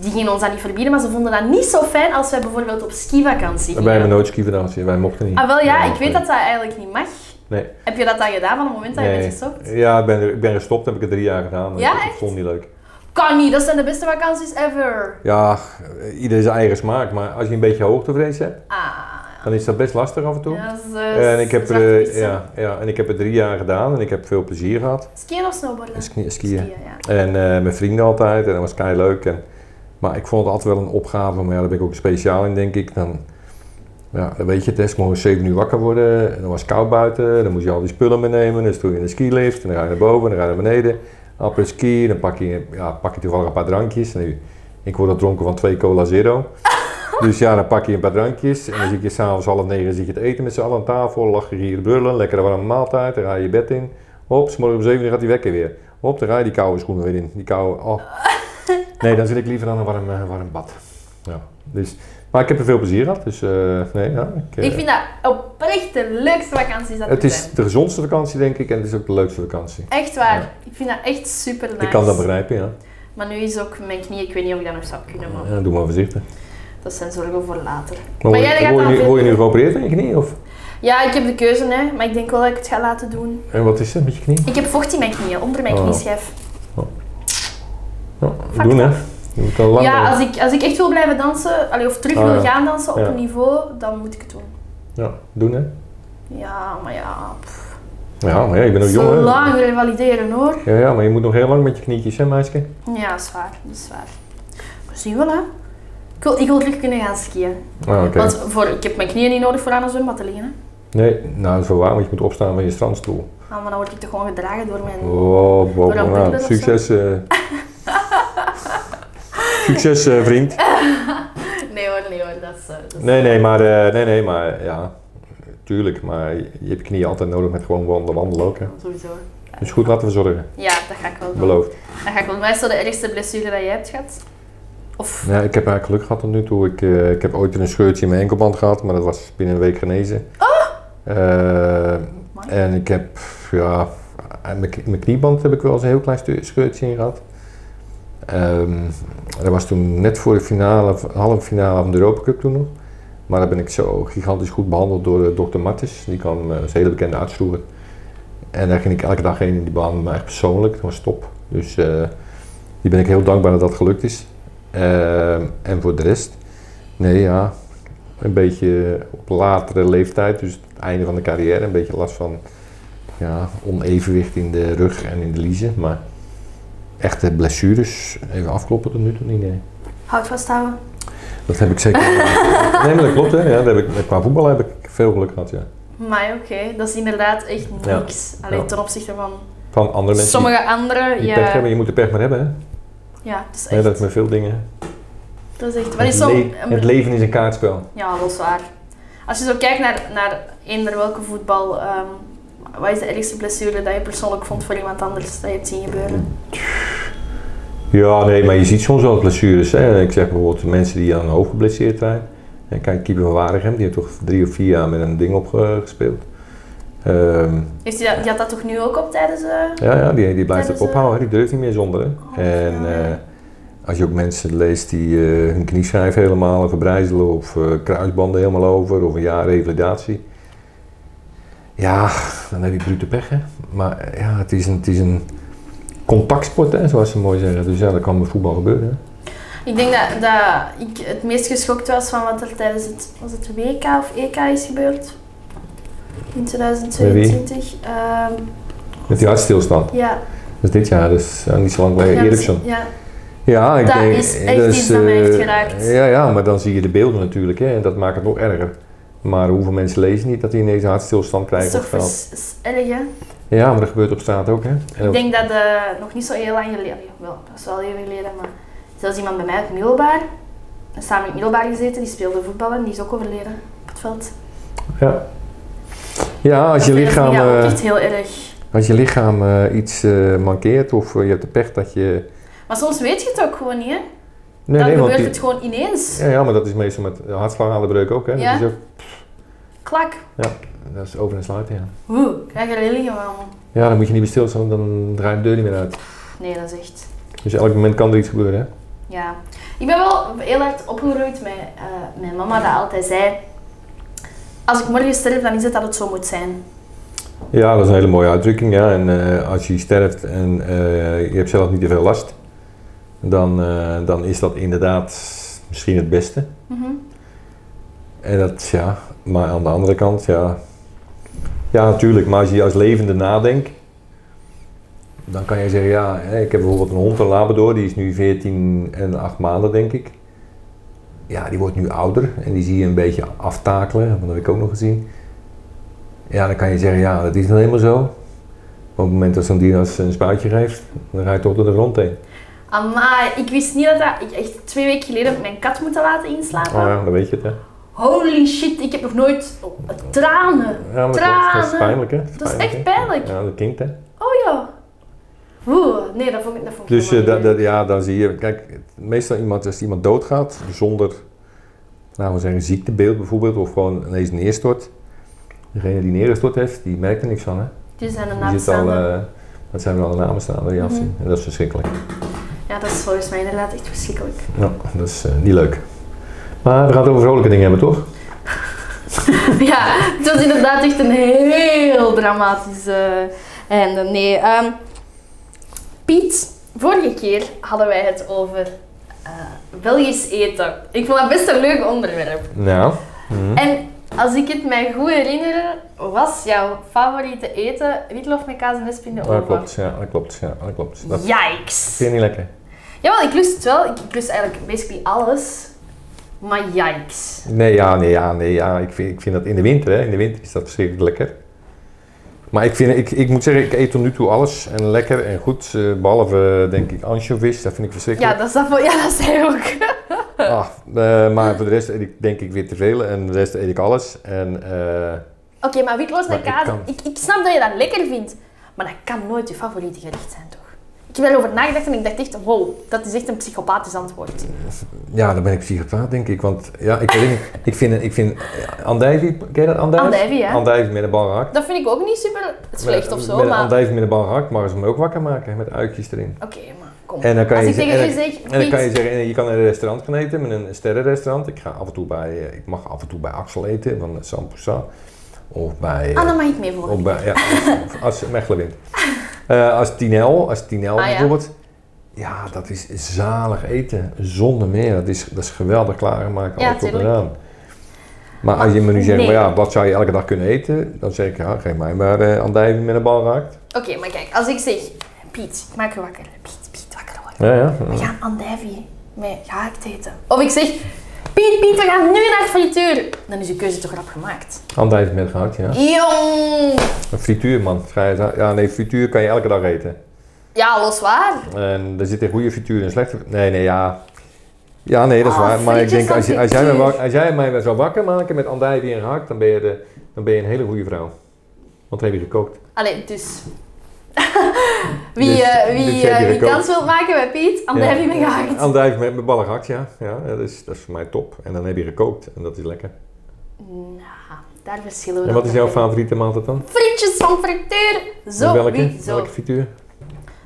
[SPEAKER 2] die gingen ons dat niet verbieden, maar ze vonden dat niet zo fijn als wij bijvoorbeeld op skivakantie
[SPEAKER 1] Wij hebben
[SPEAKER 2] gingen.
[SPEAKER 1] nooit skivakantie, wij mochten niet.
[SPEAKER 2] Ah wel ja,
[SPEAKER 1] Wij
[SPEAKER 2] ik
[SPEAKER 1] mochten
[SPEAKER 2] weet dat
[SPEAKER 1] niet.
[SPEAKER 2] dat eigenlijk niet mag.
[SPEAKER 1] Nee.
[SPEAKER 2] Heb je dat dan gedaan van het moment dat je
[SPEAKER 1] Nee.
[SPEAKER 2] bent gestopt?
[SPEAKER 1] Ja, ik ben, er- ik ben gestopt, heb ik het drie jaar gedaan. maar
[SPEAKER 2] Ja,
[SPEAKER 1] ik- ik
[SPEAKER 2] echt?
[SPEAKER 1] vond het niet leuk.
[SPEAKER 2] Kan niet, dat zijn de beste vakanties ever.
[SPEAKER 1] Ja, ieder zijn eigen smaak, maar als je een beetje hoogtevrees hebt,
[SPEAKER 2] Ah.
[SPEAKER 1] dan is dat best lastig af en toe.
[SPEAKER 2] Ja, dat is, eh,
[SPEAKER 1] En ik, heb er,
[SPEAKER 2] zwarte
[SPEAKER 1] eh,
[SPEAKER 2] pissen.
[SPEAKER 1] ja, ja, en ik heb het drie jaar gedaan en ik heb veel plezier gehad.
[SPEAKER 2] Skiën of snowboarden?
[SPEAKER 1] Ski- skiën.
[SPEAKER 2] Skiën, ja.
[SPEAKER 1] En eh, mijn vrienden altijd en dat was kei leuk. En, maar ik vond het altijd wel een opgave, maar ja, daar ben ik ook speciaal in denk ik. Dan, ja, dan weet je het, hè, 's morgens 7 uur wakker worden, en dan was het koud buiten, dan moest je al die spullen meenemen. Dus toen je in de skilift, en dan ga je naar boven, dan ga je naar beneden. Appel ski, dan pak je, ja, pak je toevallig een paar drankjes. Nu, ik word al dronken van twee cola zero. Dus ja, dan pak je een paar drankjes en dan zit je s'avonds half negen zit je te eten met z'n allen aan tafel, lach je hier brullen, lekkere warme maaltijd, dan ga je je bed in. Hop, 's morgens om zeven uur gaat die wekker weer. Hop, dan ga je die koude schoenen weer in. Die koude, oh. Nee, dan zit ik liever aan een warm, eh, warm bad. Ja, dus, maar ik heb er veel plezier gehad, dus eh, nee, ja. Ik, eh,
[SPEAKER 2] Ik vind dat oprecht de leukste vakanties dat
[SPEAKER 1] het
[SPEAKER 2] er
[SPEAKER 1] is
[SPEAKER 2] zijn.
[SPEAKER 1] de gezondste vakantie denk ik en het is ook de leukste vakantie.
[SPEAKER 2] Echt waar.
[SPEAKER 1] Ja.
[SPEAKER 2] Ik vind dat echt super nice.
[SPEAKER 1] Ik kan dat begrijpen, ja.
[SPEAKER 2] Maar nu is ook mijn knie, ik weet niet of ik dat nog zou kunnen, maar
[SPEAKER 1] ja doe maar voorzichtig.
[SPEAKER 2] dat zijn zorgen voor later.
[SPEAKER 1] Maar word,
[SPEAKER 2] jij
[SPEAKER 1] je,
[SPEAKER 2] gaat
[SPEAKER 1] word, je
[SPEAKER 2] dan
[SPEAKER 1] nu,
[SPEAKER 2] veel-
[SPEAKER 1] word je nu geopereerd aan je knie? Of?
[SPEAKER 2] Ja, ik heb de keuze, hè, maar ik denk wel dat ik het ga laten doen.
[SPEAKER 1] En wat is er met je knie?
[SPEAKER 2] Ik heb vocht in mijn knieën, onder mijn
[SPEAKER 1] Oh.
[SPEAKER 2] knieschijf.
[SPEAKER 1] Ja, doen hè. Je moet al lang
[SPEAKER 2] Ja,
[SPEAKER 1] mee.
[SPEAKER 2] als ik, als ik echt wil blijven dansen, allee, of terug
[SPEAKER 1] Ah,
[SPEAKER 2] wil
[SPEAKER 1] ja.
[SPEAKER 2] gaan dansen op
[SPEAKER 1] Ja.
[SPEAKER 2] een niveau, dan moet ik het doen.
[SPEAKER 1] ja, doen hè.
[SPEAKER 2] Ja, maar ja, pff,
[SPEAKER 1] Ja, maar ja, ik ben nog jong
[SPEAKER 2] zo
[SPEAKER 1] hè.
[SPEAKER 2] lang willen valideren hoor.
[SPEAKER 1] Ja, ja, maar je moet nog heel lang met je knietjes hè meisje.
[SPEAKER 2] Ja, zwaar, dat is waar. We zien wel hè. Ik wil, ik wil terug kunnen gaan skiën.
[SPEAKER 1] Ah, oké.
[SPEAKER 2] Want voor, ik heb mijn knieën niet nodig voor aan een zwembad te liggen. Hè.
[SPEAKER 1] Nee, nou dat is wel waar, want je moet opstaan van je strandstoel.
[SPEAKER 2] Ah, maar dan word ik toch gewoon gedragen door mijn...
[SPEAKER 1] Oh, wow,
[SPEAKER 2] dan moet ik
[SPEAKER 1] nou,
[SPEAKER 2] dat
[SPEAKER 1] succes. eh. succes eh, vriend.
[SPEAKER 2] Nee hoor, nee hoor, dat is... eh, dat is-
[SPEAKER 1] Nee, nee, maar, eh, nee, nee, maar ja, tuurlijk. Maar je hebt je knieën altijd nodig met gewoon wandelen, wandelen ook hè.
[SPEAKER 2] Sowieso.
[SPEAKER 1] Dus goed laten we zorgen,
[SPEAKER 2] Ja, dat ga ik wel doen.
[SPEAKER 1] beloofd.
[SPEAKER 2] Dat ga ik wel. Wat is zo de ergste blessure dat jij hebt gehad? Of...
[SPEAKER 1] Ja, ik heb eigenlijk geluk gehad tot nu toe. Ik, eh, ik heb ooit een scheurtje in mijn enkelband gehad, maar dat was binnen een week genezen. Eh,
[SPEAKER 2] Amai.
[SPEAKER 1] en ik heb, ja, aan mijn, knie- mijn knieband heb ik wel eens een heel klein stu- scheurtje in gehad. Ehm, dat was toen net voor de finale, halve finale van de Europa Cup toen nog. Maar daar ben ik zo gigantisch goed behandeld door eh, dokter Martens. Die kwam, eh, is een hele bekende arts vroeger. En daar ging ik elke dag heen en die behandelde me echt persoonlijk. Dat was top. Dus eh, die ben ik heel dankbaar dat dat gelukt is. Ehm, en voor de rest, nee ja, een beetje op latere leeftijd, dus het einde van de carrière, een beetje last van ja, onevenwicht in de rug en in de liezen. Maar echte blessures, even afkloppen tot nu toe niet, nee.
[SPEAKER 2] Houd vasthouden.
[SPEAKER 1] Dat heb ik zeker Nee, maar dat klopt hè. Ja, dat heb ik, qua voetbal heb ik veel geluk gehad, ja.
[SPEAKER 2] Maar oké, dat is inderdaad echt
[SPEAKER 1] Ja.
[SPEAKER 2] niks. Alleen
[SPEAKER 1] Ja.
[SPEAKER 2] ten opzichte van
[SPEAKER 1] Van andere mensen
[SPEAKER 2] sommige
[SPEAKER 1] die,
[SPEAKER 2] anderen.
[SPEAKER 1] die
[SPEAKER 2] Ja,
[SPEAKER 1] pech hebben, je moet de pech maar hebben hè.
[SPEAKER 2] ja dat is
[SPEAKER 1] Ja,
[SPEAKER 2] echt.
[SPEAKER 1] dat is met veel dingen.
[SPEAKER 2] dat is echt. Wat is
[SPEAKER 1] het,
[SPEAKER 2] zo...
[SPEAKER 1] le- het leven is een kaartspel.
[SPEAKER 2] Ja, dat is waar. Als je zo kijkt naar, naar eender welke voetbal, ehm, wat is de ergste blessure dat je persoonlijk vond voor iemand anders dat je hebt zien gebeuren?
[SPEAKER 1] Ja, nee, maar je ziet soms wel blessures. Hè. Ik zeg bijvoorbeeld mensen die aan een hoofd geblesseerd zijn. En kijk, keeper van Waregem, die heeft toch drie of vier jaar met een ding opgespeeld. Ehm
[SPEAKER 2] Heeft die, dat, die had dat toch nu ook op tijdens... eh,
[SPEAKER 1] ja, ja, die, die blijft
[SPEAKER 2] Hebben
[SPEAKER 1] het
[SPEAKER 2] ze-
[SPEAKER 1] ophouden. hè. Die durft niet meer zonder. Hè. en
[SPEAKER 2] ja.
[SPEAKER 1] eh, als je ook mensen leest die eh, hun knieschijf helemaal verbrijzelen of eh, kruisbanden helemaal over of een jaar revalidatie. Ja, dan heb je brute pech. Hè. Maar eh, ja, het is een, het is een contactsport, hè, zoals ze mooi zeggen. Dus ja, dat kan met voetbal gebeuren. Hè.
[SPEAKER 2] Ik denk dat, dat ik het meest geschokt was van wat er tijdens het, was het WK of EK is gebeurd. In 2022. Ehm,
[SPEAKER 1] Met die hartstilstand.
[SPEAKER 2] ja,
[SPEAKER 1] Dus dit jaar, dus eh, niet zo lang bij
[SPEAKER 2] ja,
[SPEAKER 1] Ericsson.
[SPEAKER 2] Ja,
[SPEAKER 1] Ja, ik
[SPEAKER 2] Dat
[SPEAKER 1] denk,
[SPEAKER 2] is echt iets dat
[SPEAKER 1] eh,
[SPEAKER 2] mij heeft geraakt.
[SPEAKER 1] Ja, ja, maar dan zie je de beelden natuurlijk hè, en dat maakt het nog erger. Maar hoeveel mensen lezen niet dat die ineens een hartstilstand
[SPEAKER 2] dat is
[SPEAKER 1] krijgen op het
[SPEAKER 2] toch
[SPEAKER 1] veld?
[SPEAKER 2] vers- is erg, hè?
[SPEAKER 1] Ja, maar dat gebeurt op straat ook hè. En
[SPEAKER 2] Ik
[SPEAKER 1] op-
[SPEAKER 2] denk dat eh, nog niet zo heel lang geleden, ja, wel, dat is wel even geleden, maar zelfs iemand bij mij uit het middelbaar, samen in het middelbaar gezeten, die speelde voetbal en die is ook overleden op het veld.
[SPEAKER 1] ja. ja, als je
[SPEAKER 2] Dat vind ik-
[SPEAKER 1] lichaam,
[SPEAKER 2] Ja, ook
[SPEAKER 1] eh,
[SPEAKER 2] echt heel erg.
[SPEAKER 1] als je lichaam eh, iets eh, mankeert of eh, je hebt de pech dat je...
[SPEAKER 2] Maar soms weet je het ook gewoon niet, hè?
[SPEAKER 1] Nee,
[SPEAKER 2] Dan
[SPEAKER 1] nee, want
[SPEAKER 2] gebeurt
[SPEAKER 1] die-
[SPEAKER 2] het gewoon ineens.
[SPEAKER 1] ja, ja, maar dat is meestal met hartslagaderbreuk ook hè.
[SPEAKER 2] Ja.
[SPEAKER 1] Dat, is ook,
[SPEAKER 2] Klak.
[SPEAKER 1] dat is over en sluiten ja.
[SPEAKER 2] Oeh, krijg je rillingen van.
[SPEAKER 1] Ja, dan moet je niet meer stilstaan, dan draait de deur niet meer uit.
[SPEAKER 2] nee, dat is echt...
[SPEAKER 1] Dus elk moment kan er iets gebeuren, hè?
[SPEAKER 2] Ja, ik ben wel heel hard opgegroeid met eh, mijn mama dat altijd zei, als ik morgen sterf, dan is het dat het zo moet zijn.
[SPEAKER 1] Ja, dat is een hele mooie uitdrukking. Ja. En eh, als je sterft en eh, je hebt zelf niet te veel last, dan, eh, dan is dat inderdaad misschien het beste.
[SPEAKER 2] Mhm.
[SPEAKER 1] En dat, ja, maar aan de andere kant, ja. Ja, natuurlijk, maar als je als levende nadenkt, dan kan je zeggen, ja, hè, ik heb bijvoorbeeld een hond, een labrador, die is nu 14 en 8 maanden, denk ik. Ja, die wordt nu ouder en die zie je een beetje aftakelen, want dat heb ik ook nog gezien. Ja, dan kan je zeggen, ja, dat is nou helemaal zo. Maar op het moment dat zo'n dier als een spuitje geeft, dan ga je toch door de grond heen.
[SPEAKER 2] Amai, ik wist niet dat, dat ik echt twee weken geleden heb ik mijn kat moeten laten
[SPEAKER 1] Oh
[SPEAKER 2] inslapen.
[SPEAKER 1] ja, dan weet je het, hè.
[SPEAKER 2] Holy shit, ik heb nog nooit oh, tranen.
[SPEAKER 1] Ja, maar dat klopt. dat is
[SPEAKER 2] Tranen.
[SPEAKER 1] pijnlijk, hè.
[SPEAKER 2] Dat is echt pijnlijk.
[SPEAKER 1] Ja, dat klinkt, hè.
[SPEAKER 2] Oh ja. Oeh, nee, dat vond ik, dat vond ik
[SPEAKER 1] Dus eh,
[SPEAKER 2] helemaal
[SPEAKER 1] dat,
[SPEAKER 2] niet.
[SPEAKER 1] dat- ja, dan zie je, kijk, het- meestal iemand, als iemand doodgaat zonder, laten we zeggen, ziektebeeld bijvoorbeeld, of gewoon ineens neerstort. Degene die neergestort heeft, die merkt er niks van, hè?
[SPEAKER 2] Die zijn Dus een
[SPEAKER 1] Die zit al,
[SPEAKER 2] nabestaande. Mhm.
[SPEAKER 1] eh, dat zijn wel de namen staan, die afzien. En dat is verschrikkelijk.
[SPEAKER 2] Ja, dat is volgens mij inderdaad echt verschrikkelijk.
[SPEAKER 1] Ja, dat is eh, niet leuk. Maar we gaan het over vrolijke dingen hebben, toch?
[SPEAKER 2] ja, het was inderdaad echt een heel dramatisch eh, einde. Nee, ehm, Piet, vorige keer hadden wij het over eh, Belgisch eten. Ik vond dat best een leuk onderwerp.
[SPEAKER 1] Nou,
[SPEAKER 2] En als ik het mij goed herinner, was jouw favoriete eten witlof met kaas en wesp in de
[SPEAKER 1] dat
[SPEAKER 2] oven.
[SPEAKER 1] klopt, ja, dat klopt, ja, dat klopt. Dat
[SPEAKER 2] Yikes.
[SPEAKER 1] vind je niet lekker.
[SPEAKER 2] Jawel, ik lust het wel. Ik, ik lust eigenlijk basically alles. Maar yikes.
[SPEAKER 1] Nee, ja, nee, ja, nee, ja. Ik vind, ik vind dat in de winter, hè. In de winter is dat verschrikkelijk lekker. Maar ik, vind, ik, ik moet zeggen, ik eet tot nu toe alles en lekker en goed. eh, behalve, eh, denk ik, anchovies. Dat vind ik
[SPEAKER 2] Ja,
[SPEAKER 1] verschrikkelijk.
[SPEAKER 2] dat is dat voor... Ja, dat zei ik ook.
[SPEAKER 1] Ah, eh, maar voor de rest eet ik denk ik weer te veel. En de rest eet ik alles. En eh,
[SPEAKER 2] Oké, maar witloos
[SPEAKER 1] Maar
[SPEAKER 2] met
[SPEAKER 1] ik
[SPEAKER 2] kaas,
[SPEAKER 1] kan-
[SPEAKER 2] ik, ik snap dat je dat lekker vindt, maar dat kan nooit je favoriete gericht zijn, toch? Ik heb daarover nagedacht en ik dacht echt, wow, dat is echt een psychopathisch antwoord.
[SPEAKER 1] ja, dan ben ik psychopaat, denk ik. Want ja, ik weet niet. Ik vind, ik vind eh, andijvie, ken je dat? Andijvie?
[SPEAKER 2] Andijvie, ja.
[SPEAKER 1] Andijvie met een bal gehakt.
[SPEAKER 2] Dat vind ik ook niet super slecht of zo,
[SPEAKER 1] Met een
[SPEAKER 2] maar... Oké,
[SPEAKER 1] andijvie met een bal gehakt, maar ze hem ook wakker maken met uitjes erin.
[SPEAKER 2] maar kom.
[SPEAKER 1] En dan kan
[SPEAKER 2] Als
[SPEAKER 1] je
[SPEAKER 2] ik
[SPEAKER 1] ze-
[SPEAKER 2] tegen
[SPEAKER 1] en
[SPEAKER 2] u
[SPEAKER 1] dan-
[SPEAKER 2] zeg,
[SPEAKER 1] En dan kan je
[SPEAKER 2] Piet,
[SPEAKER 1] zeggen, eh, je kan in een restaurant gaan eten, met een sterrenrestaurant. Ik, ga af en toe bij, eh, ik mag af en toe bij Axel eten, van Sampoesa. Of bij... eh,
[SPEAKER 2] ah, dan mag ik mee voor.
[SPEAKER 1] of bij ja, of als Mechelen wint. Eh, als Tinel, als Tinel
[SPEAKER 2] Ah, ja.
[SPEAKER 1] bijvoorbeeld. Ja, dat is zalig eten, zonder meer. Dat is, dat is geweldig klaargemaakt,
[SPEAKER 2] Ja,
[SPEAKER 1] alles tot
[SPEAKER 2] tuurlijk. Ah,
[SPEAKER 1] eraan. Maar als je me nu zegt,
[SPEAKER 2] nee.
[SPEAKER 1] maar ja, wat zou je elke dag kunnen eten? Dan zeg ik, ja, geef mij maar eh andijvie met een bal raakt.
[SPEAKER 2] Oké, maar kijk, als ik zeg, Piet, ik maak je wakker. Piet, Piet, wakker, wakker.
[SPEAKER 1] Ja, ja.
[SPEAKER 2] We gaan andijvie met gehakt eten. Of ik zeg, Piet, Piet, we gaan nu naar de frituur. Dan is je keuze toch rap gemaakt.
[SPEAKER 1] Andijvie met gehakt, ja.
[SPEAKER 2] Jong!
[SPEAKER 1] Een frituur, man. Ga je- Ja, nee, frituur kan je elke dag eten.
[SPEAKER 2] Ja, los waar.
[SPEAKER 1] En er zitten goede frituur en slechte. Nee, nee, ja. Ja, nee, dat is
[SPEAKER 2] Ah,
[SPEAKER 1] waar. Maar ik
[SPEAKER 2] frietjes
[SPEAKER 1] denk, als, je,
[SPEAKER 2] van
[SPEAKER 1] als, jij mij,
[SPEAKER 2] frituur.
[SPEAKER 1] wak- als jij mij zou wakker maken met andijvie en gehakt, dan ben je, de, dan ben je een hele goede vrouw. Want dan heb je gekookt.
[SPEAKER 2] Allee, dus. wie
[SPEAKER 1] Dus,
[SPEAKER 2] eh,
[SPEAKER 1] dus
[SPEAKER 2] wie,
[SPEAKER 1] jij
[SPEAKER 2] eh,
[SPEAKER 1] die
[SPEAKER 2] wie
[SPEAKER 1] gekookt.
[SPEAKER 2] kans wilt maken bij Piet, dan heb je me gehakt.
[SPEAKER 1] Andijvie met, met ballen gehakt, ja. ja dat, is, dat is voor mij top. En dan heb je gekookt en dat is lekker.
[SPEAKER 2] Nou, daar verschillen we
[SPEAKER 1] En
[SPEAKER 2] dan
[SPEAKER 1] wat is jouw
[SPEAKER 2] nog in.
[SPEAKER 1] favoriete maaltijd dan?
[SPEAKER 2] Frietjes van frituur! Zo,
[SPEAKER 1] welke?
[SPEAKER 2] wie, zo.
[SPEAKER 1] Welke frituur?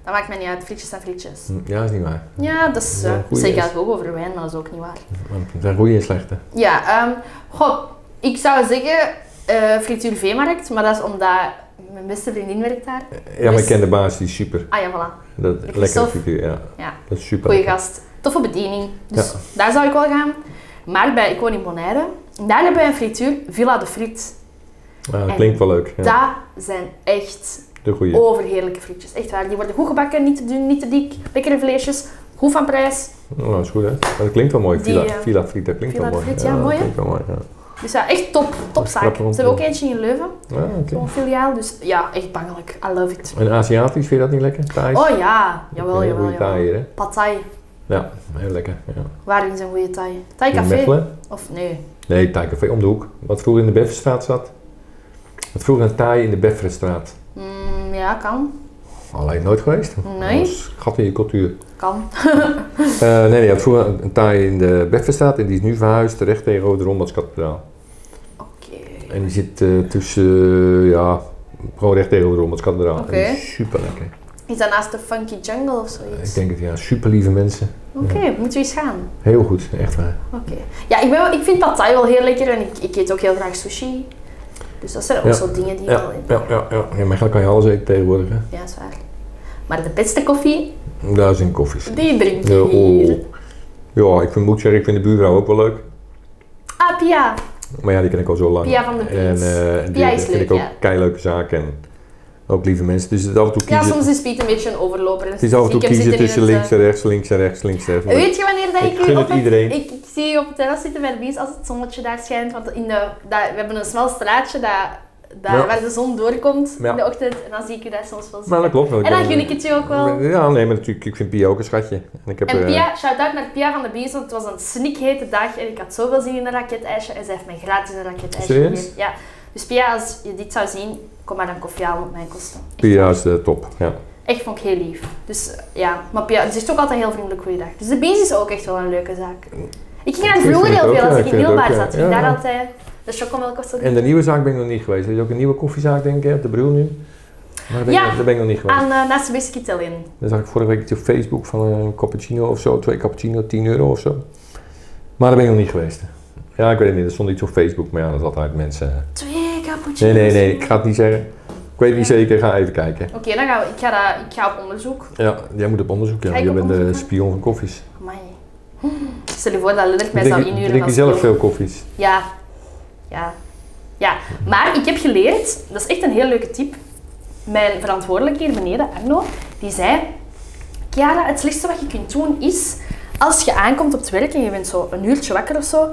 [SPEAKER 2] Dat maakt mij niet uit, frietjes zijn frietjes.
[SPEAKER 1] Hm, Ja, is niet waar.
[SPEAKER 2] Ja, dat is...
[SPEAKER 1] Ja,
[SPEAKER 2] eh,
[SPEAKER 1] goeie
[SPEAKER 2] zeg ik
[SPEAKER 1] is.
[SPEAKER 2] eigenlijk ook over wijn, maar dat is ook niet waar.
[SPEAKER 1] Want Er zijn goede en slechte.
[SPEAKER 2] Ja, ehm goh, ik zou zeggen eh frituur veemarkt, maar dat is omdat mijn beste vriendin werkt daar.
[SPEAKER 1] Ja, maar
[SPEAKER 2] Dus-
[SPEAKER 1] ik ken de baas, die is super.
[SPEAKER 2] Ah ja, voilà.
[SPEAKER 1] Dat,
[SPEAKER 2] Lekker
[SPEAKER 1] lekkere
[SPEAKER 2] stof.
[SPEAKER 1] frituur, ja.
[SPEAKER 2] Ja.
[SPEAKER 1] Dat is super.
[SPEAKER 2] Goeie
[SPEAKER 1] lekker.
[SPEAKER 2] gast, toffe bediening. Dus
[SPEAKER 1] Ja.
[SPEAKER 2] daar zou ik wel gaan. Maar bij, ik woon in Bonaire. En Daar hebben wij een frituur, Villa de Friet.
[SPEAKER 1] Ah, dat
[SPEAKER 2] En
[SPEAKER 1] klinkt wel leuk. Ja.
[SPEAKER 2] Dat zijn echt
[SPEAKER 1] De goede.
[SPEAKER 2] overheerlijke frietjes. Echt waar. Die worden goed gebakken, niet te dun, niet te dik. Lekkere vleesjes, goed van prijs.
[SPEAKER 1] Nou, dat is goed hè. Maar dat klinkt wel mooi.
[SPEAKER 2] Die,
[SPEAKER 1] Villa,
[SPEAKER 2] eh,
[SPEAKER 1] Villa Friet, dat klinkt
[SPEAKER 2] Villa
[SPEAKER 1] wel mooi.
[SPEAKER 2] Friet, ja, mooi,
[SPEAKER 1] dat
[SPEAKER 2] hè?
[SPEAKER 1] klinkt wel mooi. Ja,
[SPEAKER 2] Dus ja, echt top, topzaak. Ze
[SPEAKER 1] Grappig om te
[SPEAKER 2] hebben ook
[SPEAKER 1] doen.
[SPEAKER 2] eentje in Leuven,
[SPEAKER 1] Ah, oké.
[SPEAKER 2] zo'n filiaal. Dus ja, echt bangelijk. I love it.
[SPEAKER 1] En Aziatisch, vind je dat niet lekker? Thais?
[SPEAKER 2] Oh ja, jawel,
[SPEAKER 1] Een hele
[SPEAKER 2] jawel,
[SPEAKER 1] goede Thai
[SPEAKER 2] jawel.
[SPEAKER 1] hier hè.
[SPEAKER 2] Pad thai.
[SPEAKER 1] Ja, heel lekker. Ja.
[SPEAKER 2] Waar is een goede thai? Thai
[SPEAKER 1] In
[SPEAKER 2] café?
[SPEAKER 1] Mechelen?
[SPEAKER 2] Of nee.
[SPEAKER 1] Nee, Thai café om de hoek. Wat vroeger in de Befferstraat zat. Wat vroeger een Thai in de Befferstraat.
[SPEAKER 2] Mm, ja, kan.
[SPEAKER 1] Alleen nooit geweest.
[SPEAKER 2] Nee.
[SPEAKER 1] Dat is een gat in je cultuur.
[SPEAKER 2] Kan.
[SPEAKER 1] Eh, nee, nee, je had vroeger een- een Thai in de Befferstraat en die is nu verhuisd terecht tegen Rode Rombadskathedraal.
[SPEAKER 2] Oké.
[SPEAKER 1] En die zit eh, tussen, eh, ja, gewoon recht tegen Rode Rombadskathedraal.
[SPEAKER 2] Oké.
[SPEAKER 1] Super lekker.
[SPEAKER 2] Is dat naast de Funky Jungle of zoiets?
[SPEAKER 1] Ik denk het, ja. Super lieve mensen.
[SPEAKER 2] Oké, moeten we eens gaan.
[SPEAKER 1] Heel goed, echt waar.
[SPEAKER 2] Oké. Ja, ik, ben, wel- ik vind pad thai wel heel lekker en ik, ik eet ook heel graag sushi. Dus dat zijn ook
[SPEAKER 1] Ja.
[SPEAKER 2] zo dingen die
[SPEAKER 1] Ja,
[SPEAKER 2] wel in.
[SPEAKER 1] ja, ja, ja. ja maar eigenlijk kan je alles eten tegenwoordig. Hè.
[SPEAKER 2] Ja, is waar. Maar de beste koffie,
[SPEAKER 1] Daar zijn koffies.
[SPEAKER 2] die drink
[SPEAKER 1] Ja,
[SPEAKER 2] je hier.
[SPEAKER 1] oh. ja, ik vind, moet ik zeggen, ik vind de buurvrouw ook wel leuk.
[SPEAKER 2] Ah, Pia.
[SPEAKER 1] Maar ja, die ken ik al zo lang.
[SPEAKER 2] Pia van de Pies.
[SPEAKER 1] En eh, die
[SPEAKER 2] Pia is
[SPEAKER 1] die vind
[SPEAKER 2] leuk,
[SPEAKER 1] ik ook
[SPEAKER 2] ja.
[SPEAKER 1] kei leuke zaak en ook lieve mensen. Dus het is af en toe
[SPEAKER 2] Ja,
[SPEAKER 1] kiezen,
[SPEAKER 2] soms is Piet een beetje een overloper. Dus
[SPEAKER 1] het is af en toe
[SPEAKER 2] Ik heb
[SPEAKER 1] kiezen
[SPEAKER 2] zitten in
[SPEAKER 1] tussen
[SPEAKER 2] het, eh,
[SPEAKER 1] links en rechts, links en rechts, links en rechts. Maar
[SPEAKER 2] Weet je wanneer dat
[SPEAKER 1] Ik
[SPEAKER 2] ik,
[SPEAKER 1] gun
[SPEAKER 2] u
[SPEAKER 1] het
[SPEAKER 2] op het,
[SPEAKER 1] iedereen.
[SPEAKER 2] Ik, ik zie u op het terras zitten bij de bies als het zonnetje daar schijnt. Want in de, dat, we hebben een smal straatje dat, dat,
[SPEAKER 1] Ja.
[SPEAKER 2] waar de zon doorkomt
[SPEAKER 1] Ja.
[SPEAKER 2] in de ochtend. En dan zie ik u daar soms wel zitten.
[SPEAKER 1] maar dat klopt wel. Ik
[SPEAKER 2] en dan
[SPEAKER 1] ben-
[SPEAKER 2] gun ik het je ook wel.
[SPEAKER 1] Ja, nee, maar natuurlijk, ik vind Pia ook een schatje. En ik heb,
[SPEAKER 2] En
[SPEAKER 1] eh,
[SPEAKER 2] Pia, shout-out naar Pia van de Bies, want het was een snikhete dag en ik had zoveel zin in een raketijsje en zij heeft mij gratis een raketijsje
[SPEAKER 1] Serieus?
[SPEAKER 2] gegeven. Ja. Dus Pia, als je dit zou zien, kom maar een koffie halen op mijn kosten. Echt,
[SPEAKER 1] Pia is eh, top. Ja.
[SPEAKER 2] echt vond ik heel lief. Dus eh, ja, maar Pia zegt ook altijd heel vriendelijk goeiedag. Dus de Bies is ook echt wel een leuke zaak. Ik ging naar
[SPEAKER 1] Ik
[SPEAKER 2] de vroeger
[SPEAKER 1] vind het
[SPEAKER 2] heel
[SPEAKER 1] ook,
[SPEAKER 2] veel
[SPEAKER 1] ja,
[SPEAKER 2] als
[SPEAKER 1] ik vind
[SPEAKER 2] ik in
[SPEAKER 1] het
[SPEAKER 2] middelbaar
[SPEAKER 1] ook, ja.
[SPEAKER 2] zat. Ging
[SPEAKER 1] Ja.
[SPEAKER 2] daar altijd. De chocomel kostte
[SPEAKER 1] En de nieuwe zaak ben ik nog niet geweest. Er is ook een nieuwe koffiezaak, denk ik, op de Bril nu. Maar daar ben,
[SPEAKER 2] Ja.
[SPEAKER 1] ik, nog- daar ben ik nog niet geweest.
[SPEAKER 2] aan eh, naast de Biscuit Italian.
[SPEAKER 1] Dan zag ik vorige week iets op Facebook van een cappuccino of zo, twee cappuccino, 10 euro of zo. Maar daar ben ik nog niet geweest. Ja, ik weet het niet, er stond iets op Facebook, maar ja, dat is altijd mensen.
[SPEAKER 2] Twee cappuccino's.
[SPEAKER 1] Nee, nee, nee, ik ga het niet zeggen. Ik weet niet zeker, ga even kijken.
[SPEAKER 2] Oké, dan gaan we. Ik ga, dat- ik ga op onderzoek.
[SPEAKER 1] Ja, jij moet op onderzoek, ja.
[SPEAKER 2] Ga ik
[SPEAKER 1] Je
[SPEAKER 2] op
[SPEAKER 1] bent de
[SPEAKER 2] onderzoek, hè?
[SPEAKER 1] spion van koffies.
[SPEAKER 2] Amai. Hm. Stel je voor dat Lennart mij zou
[SPEAKER 1] Drink,
[SPEAKER 2] inhuren
[SPEAKER 1] drink je
[SPEAKER 2] als
[SPEAKER 1] zelf eh,
[SPEAKER 2] spion.
[SPEAKER 1] veel koffies?
[SPEAKER 2] Ja. Ja. Ja. Maar ik heb geleerd, dat is echt een heel leuke tip. Mijn verantwoordelijke hier beneden, Arno, die zei... Chiara, het slechtste wat je kunt doen is... Als je aankomt op het werk en je bent zo een uurtje wakker of zo...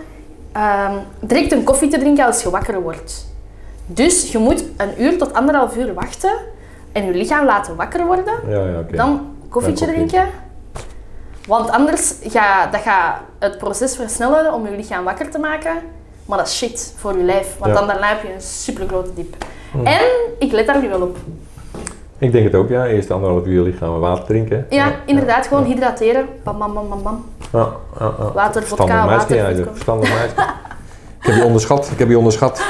[SPEAKER 2] ehm, direct een koffie te drinken als je wakker wordt. Dus je moet een uur tot anderhalf uur wachten en je lichaam laten wakker worden.
[SPEAKER 1] Ja, ja, oké.
[SPEAKER 2] Dan koffietje
[SPEAKER 1] Dan koffie.
[SPEAKER 2] drinken. Want anders gaat dat gaat het proces versnellen om je lichaam wakker te maken. Maar dat is shit voor je lijf. Want
[SPEAKER 1] Ja. Hmm.
[SPEAKER 2] dan daarna heb je een super grote diep. En ik let daar nu wel op.
[SPEAKER 1] Ik denk het ook, ja. Eerst anderhalf uur lichaam water drinken.
[SPEAKER 2] Ja, inderdaad. Gewoon hydrateren. Bam, bam, bam, bam, bam.
[SPEAKER 1] Ja, ja, ja.
[SPEAKER 2] Water,
[SPEAKER 1] Verstandig
[SPEAKER 2] vodka,
[SPEAKER 1] meisje,
[SPEAKER 2] water,
[SPEAKER 1] ja,
[SPEAKER 2] vodka.
[SPEAKER 1] verstandig meisje. Ik heb je onderschat, ik heb je onderschat.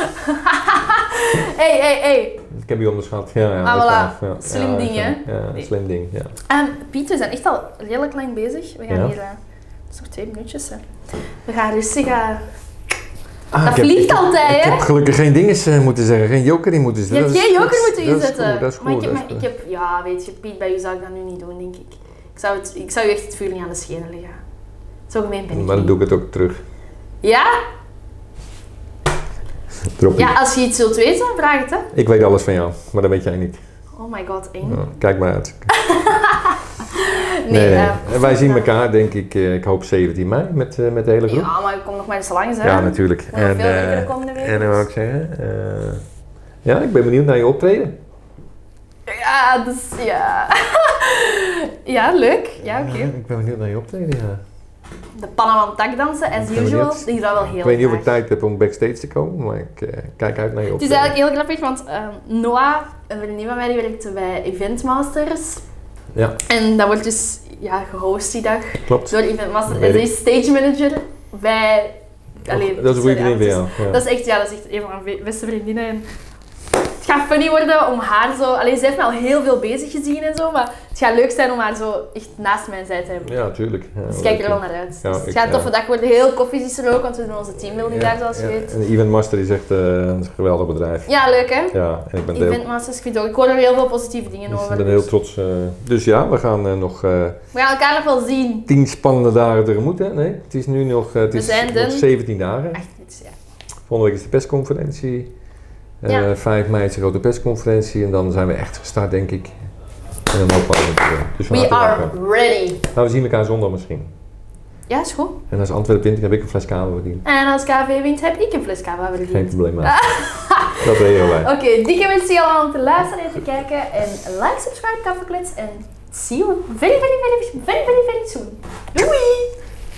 [SPEAKER 2] Hé, hé, hé.
[SPEAKER 1] Ik heb je onderschat, ja. ja
[SPEAKER 2] Ah,
[SPEAKER 1] dat
[SPEAKER 2] voilà.
[SPEAKER 1] wel, ja.
[SPEAKER 2] Slim
[SPEAKER 1] Ja,
[SPEAKER 2] ding,
[SPEAKER 1] ja,
[SPEAKER 2] hè?
[SPEAKER 1] Ja, slim ding, ja.
[SPEAKER 2] Ehm, Piet, we zijn echt al redelijk lang bezig. We gaan
[SPEAKER 1] Ja.
[SPEAKER 2] hier... eh, het is nog twee minuutjes, hè. We gaan rustig... eh,
[SPEAKER 1] Ah,
[SPEAKER 2] Dat
[SPEAKER 1] ik heb-
[SPEAKER 2] vliegt
[SPEAKER 1] ik heb-
[SPEAKER 2] altijd,
[SPEAKER 1] Ik
[SPEAKER 2] hè?
[SPEAKER 1] heb gelukkig geen dinges eh, moeten zeggen, geen joker in moeten
[SPEAKER 2] je
[SPEAKER 1] zetten.
[SPEAKER 2] hebt
[SPEAKER 1] Dat
[SPEAKER 2] geen
[SPEAKER 1] is-
[SPEAKER 2] joker
[SPEAKER 1] dat is-
[SPEAKER 2] moeten
[SPEAKER 1] dat is
[SPEAKER 2] inzetten.
[SPEAKER 1] goed, Dat is goed.
[SPEAKER 2] maar ik heb,
[SPEAKER 1] dat
[SPEAKER 2] maar
[SPEAKER 1] is
[SPEAKER 2] ik
[SPEAKER 1] goed.
[SPEAKER 2] heb... Ja, weet je, Piet, bij u zou ik dat nu niet doen, denk ik. Ik zou, het, ik zou u echt het vuur niet aan de schenen leggen. Zo gemeen ben ik
[SPEAKER 1] Maar dan
[SPEAKER 2] niet.
[SPEAKER 1] doe ik het ook terug.
[SPEAKER 2] Ja?
[SPEAKER 1] Droppie.
[SPEAKER 2] Ja, als je iets wilt weten, vraag het, hè.
[SPEAKER 1] Ik weet alles van jou, maar dat weet jij niet.
[SPEAKER 2] Oh my god, eng.
[SPEAKER 1] Ja, Kijk maar uit.
[SPEAKER 2] Nee,
[SPEAKER 1] Nee, nee.
[SPEAKER 2] eh,
[SPEAKER 1] En Wij zien elkaar, denk ik, eh, ik hoop 17 mei met, eh, met de hele groep.
[SPEAKER 2] Ja, maar ik kom nog maar eens langs, hè.
[SPEAKER 1] Ja, natuurlijk.
[SPEAKER 2] Nog Nou, veel
[SPEAKER 1] eh,
[SPEAKER 2] lekkere komende week.
[SPEAKER 1] en dan wou ik zeggen, eh, ja, ik ben benieuwd naar je optreden.
[SPEAKER 2] Ja, dus ja. ja, leuk. Ja, oké.
[SPEAKER 1] ik ben benieuwd naar je optreden, ja.
[SPEAKER 2] De Panaman takdansen, as
[SPEAKER 1] Ik ben
[SPEAKER 2] usual,
[SPEAKER 1] benieuwd.
[SPEAKER 2] die is dat wel heel
[SPEAKER 1] Ik weet niet of ik
[SPEAKER 2] graag.
[SPEAKER 1] tijd heb om backstage te komen, maar ik eh, kijk uit naar je
[SPEAKER 2] Het is
[SPEAKER 1] optreden.
[SPEAKER 2] eigenlijk heel grappig, want ehm, Noah, een vriendin van mij, die werkte bij Eventmasters.
[SPEAKER 1] Ja,
[SPEAKER 2] En dat wordt dus ja, gehost die dag
[SPEAKER 1] klopt.
[SPEAKER 2] door Eventmasters.
[SPEAKER 1] Weet
[SPEAKER 2] En
[SPEAKER 1] ik.
[SPEAKER 2] ze is stage manager bij... Allee,
[SPEAKER 1] dat is een goede
[SPEAKER 2] sorry,
[SPEAKER 1] vriendin
[SPEAKER 2] ja,
[SPEAKER 1] van jou, ja.
[SPEAKER 2] Dat is echt, ja, dat is echt een van mijn be- beste vriendinnen. En het gaat funny worden om haar zo... Allee, ze heeft me al heel veel bezig gezien en zo, maar het gaat leuk zijn om haar zo echt naast mij zij te hebben.
[SPEAKER 1] Ja, tuurlijk. Ja,
[SPEAKER 2] Dus
[SPEAKER 1] leuk,
[SPEAKER 2] ik kijk er
[SPEAKER 1] ja.
[SPEAKER 2] wel naar uit.
[SPEAKER 1] Ja,
[SPEAKER 2] dus het
[SPEAKER 1] ik-
[SPEAKER 2] gaat een
[SPEAKER 1] ja.
[SPEAKER 2] toffe dag worden. Heel koffies is er ook, want we doen onze teambuilding
[SPEAKER 1] Ja,
[SPEAKER 2] daar, zoals je
[SPEAKER 1] ja.
[SPEAKER 2] weet.
[SPEAKER 1] En Event Master is echt eh, een geweldig bedrijf.
[SPEAKER 2] Ja, leuk hè?
[SPEAKER 1] Ja, en ik ben, er heel,
[SPEAKER 2] Eventmasters, ik vind het ook. Ik hoor er heel veel positieve dingen
[SPEAKER 1] dus ik
[SPEAKER 2] over.
[SPEAKER 1] ben heel trots. eh. dus ja, we gaan eh, nog eh,
[SPEAKER 2] We gaan elkaar nog wel zien.
[SPEAKER 1] tien spannende dagen tegemoet. Hè? Nee, het is nu nog, eh, het
[SPEAKER 2] We
[SPEAKER 1] is
[SPEAKER 2] zijn
[SPEAKER 1] nog
[SPEAKER 2] de-
[SPEAKER 1] 17 dagen.
[SPEAKER 2] Echt niet, ja.
[SPEAKER 1] Volgende week is de persconferentie. Eh,
[SPEAKER 2] Ja.
[SPEAKER 1] 5 mei is de grote persconferentie. En dan zijn we echt gestart, denk ik. En dan hopen we het, eh, Dus van
[SPEAKER 2] We
[SPEAKER 1] harte
[SPEAKER 2] are
[SPEAKER 1] welkom.
[SPEAKER 2] ready.
[SPEAKER 1] Nou, we zien elkaar zondag misschien.
[SPEAKER 2] Ja, is goed.
[SPEAKER 1] En als Antwerpen wint, heb ik een fles kamer verdiend.
[SPEAKER 2] En als KV wint, heb ik een fles cava
[SPEAKER 1] Geen
[SPEAKER 2] verdiend.
[SPEAKER 1] probleem maar. Dat ben je heel blij.
[SPEAKER 2] Oké, dikke mensen allemaal om te luisteren en te kijken. En like, subscribe, kafferklets. En see you very, very, very, very, very, very soon. Doei!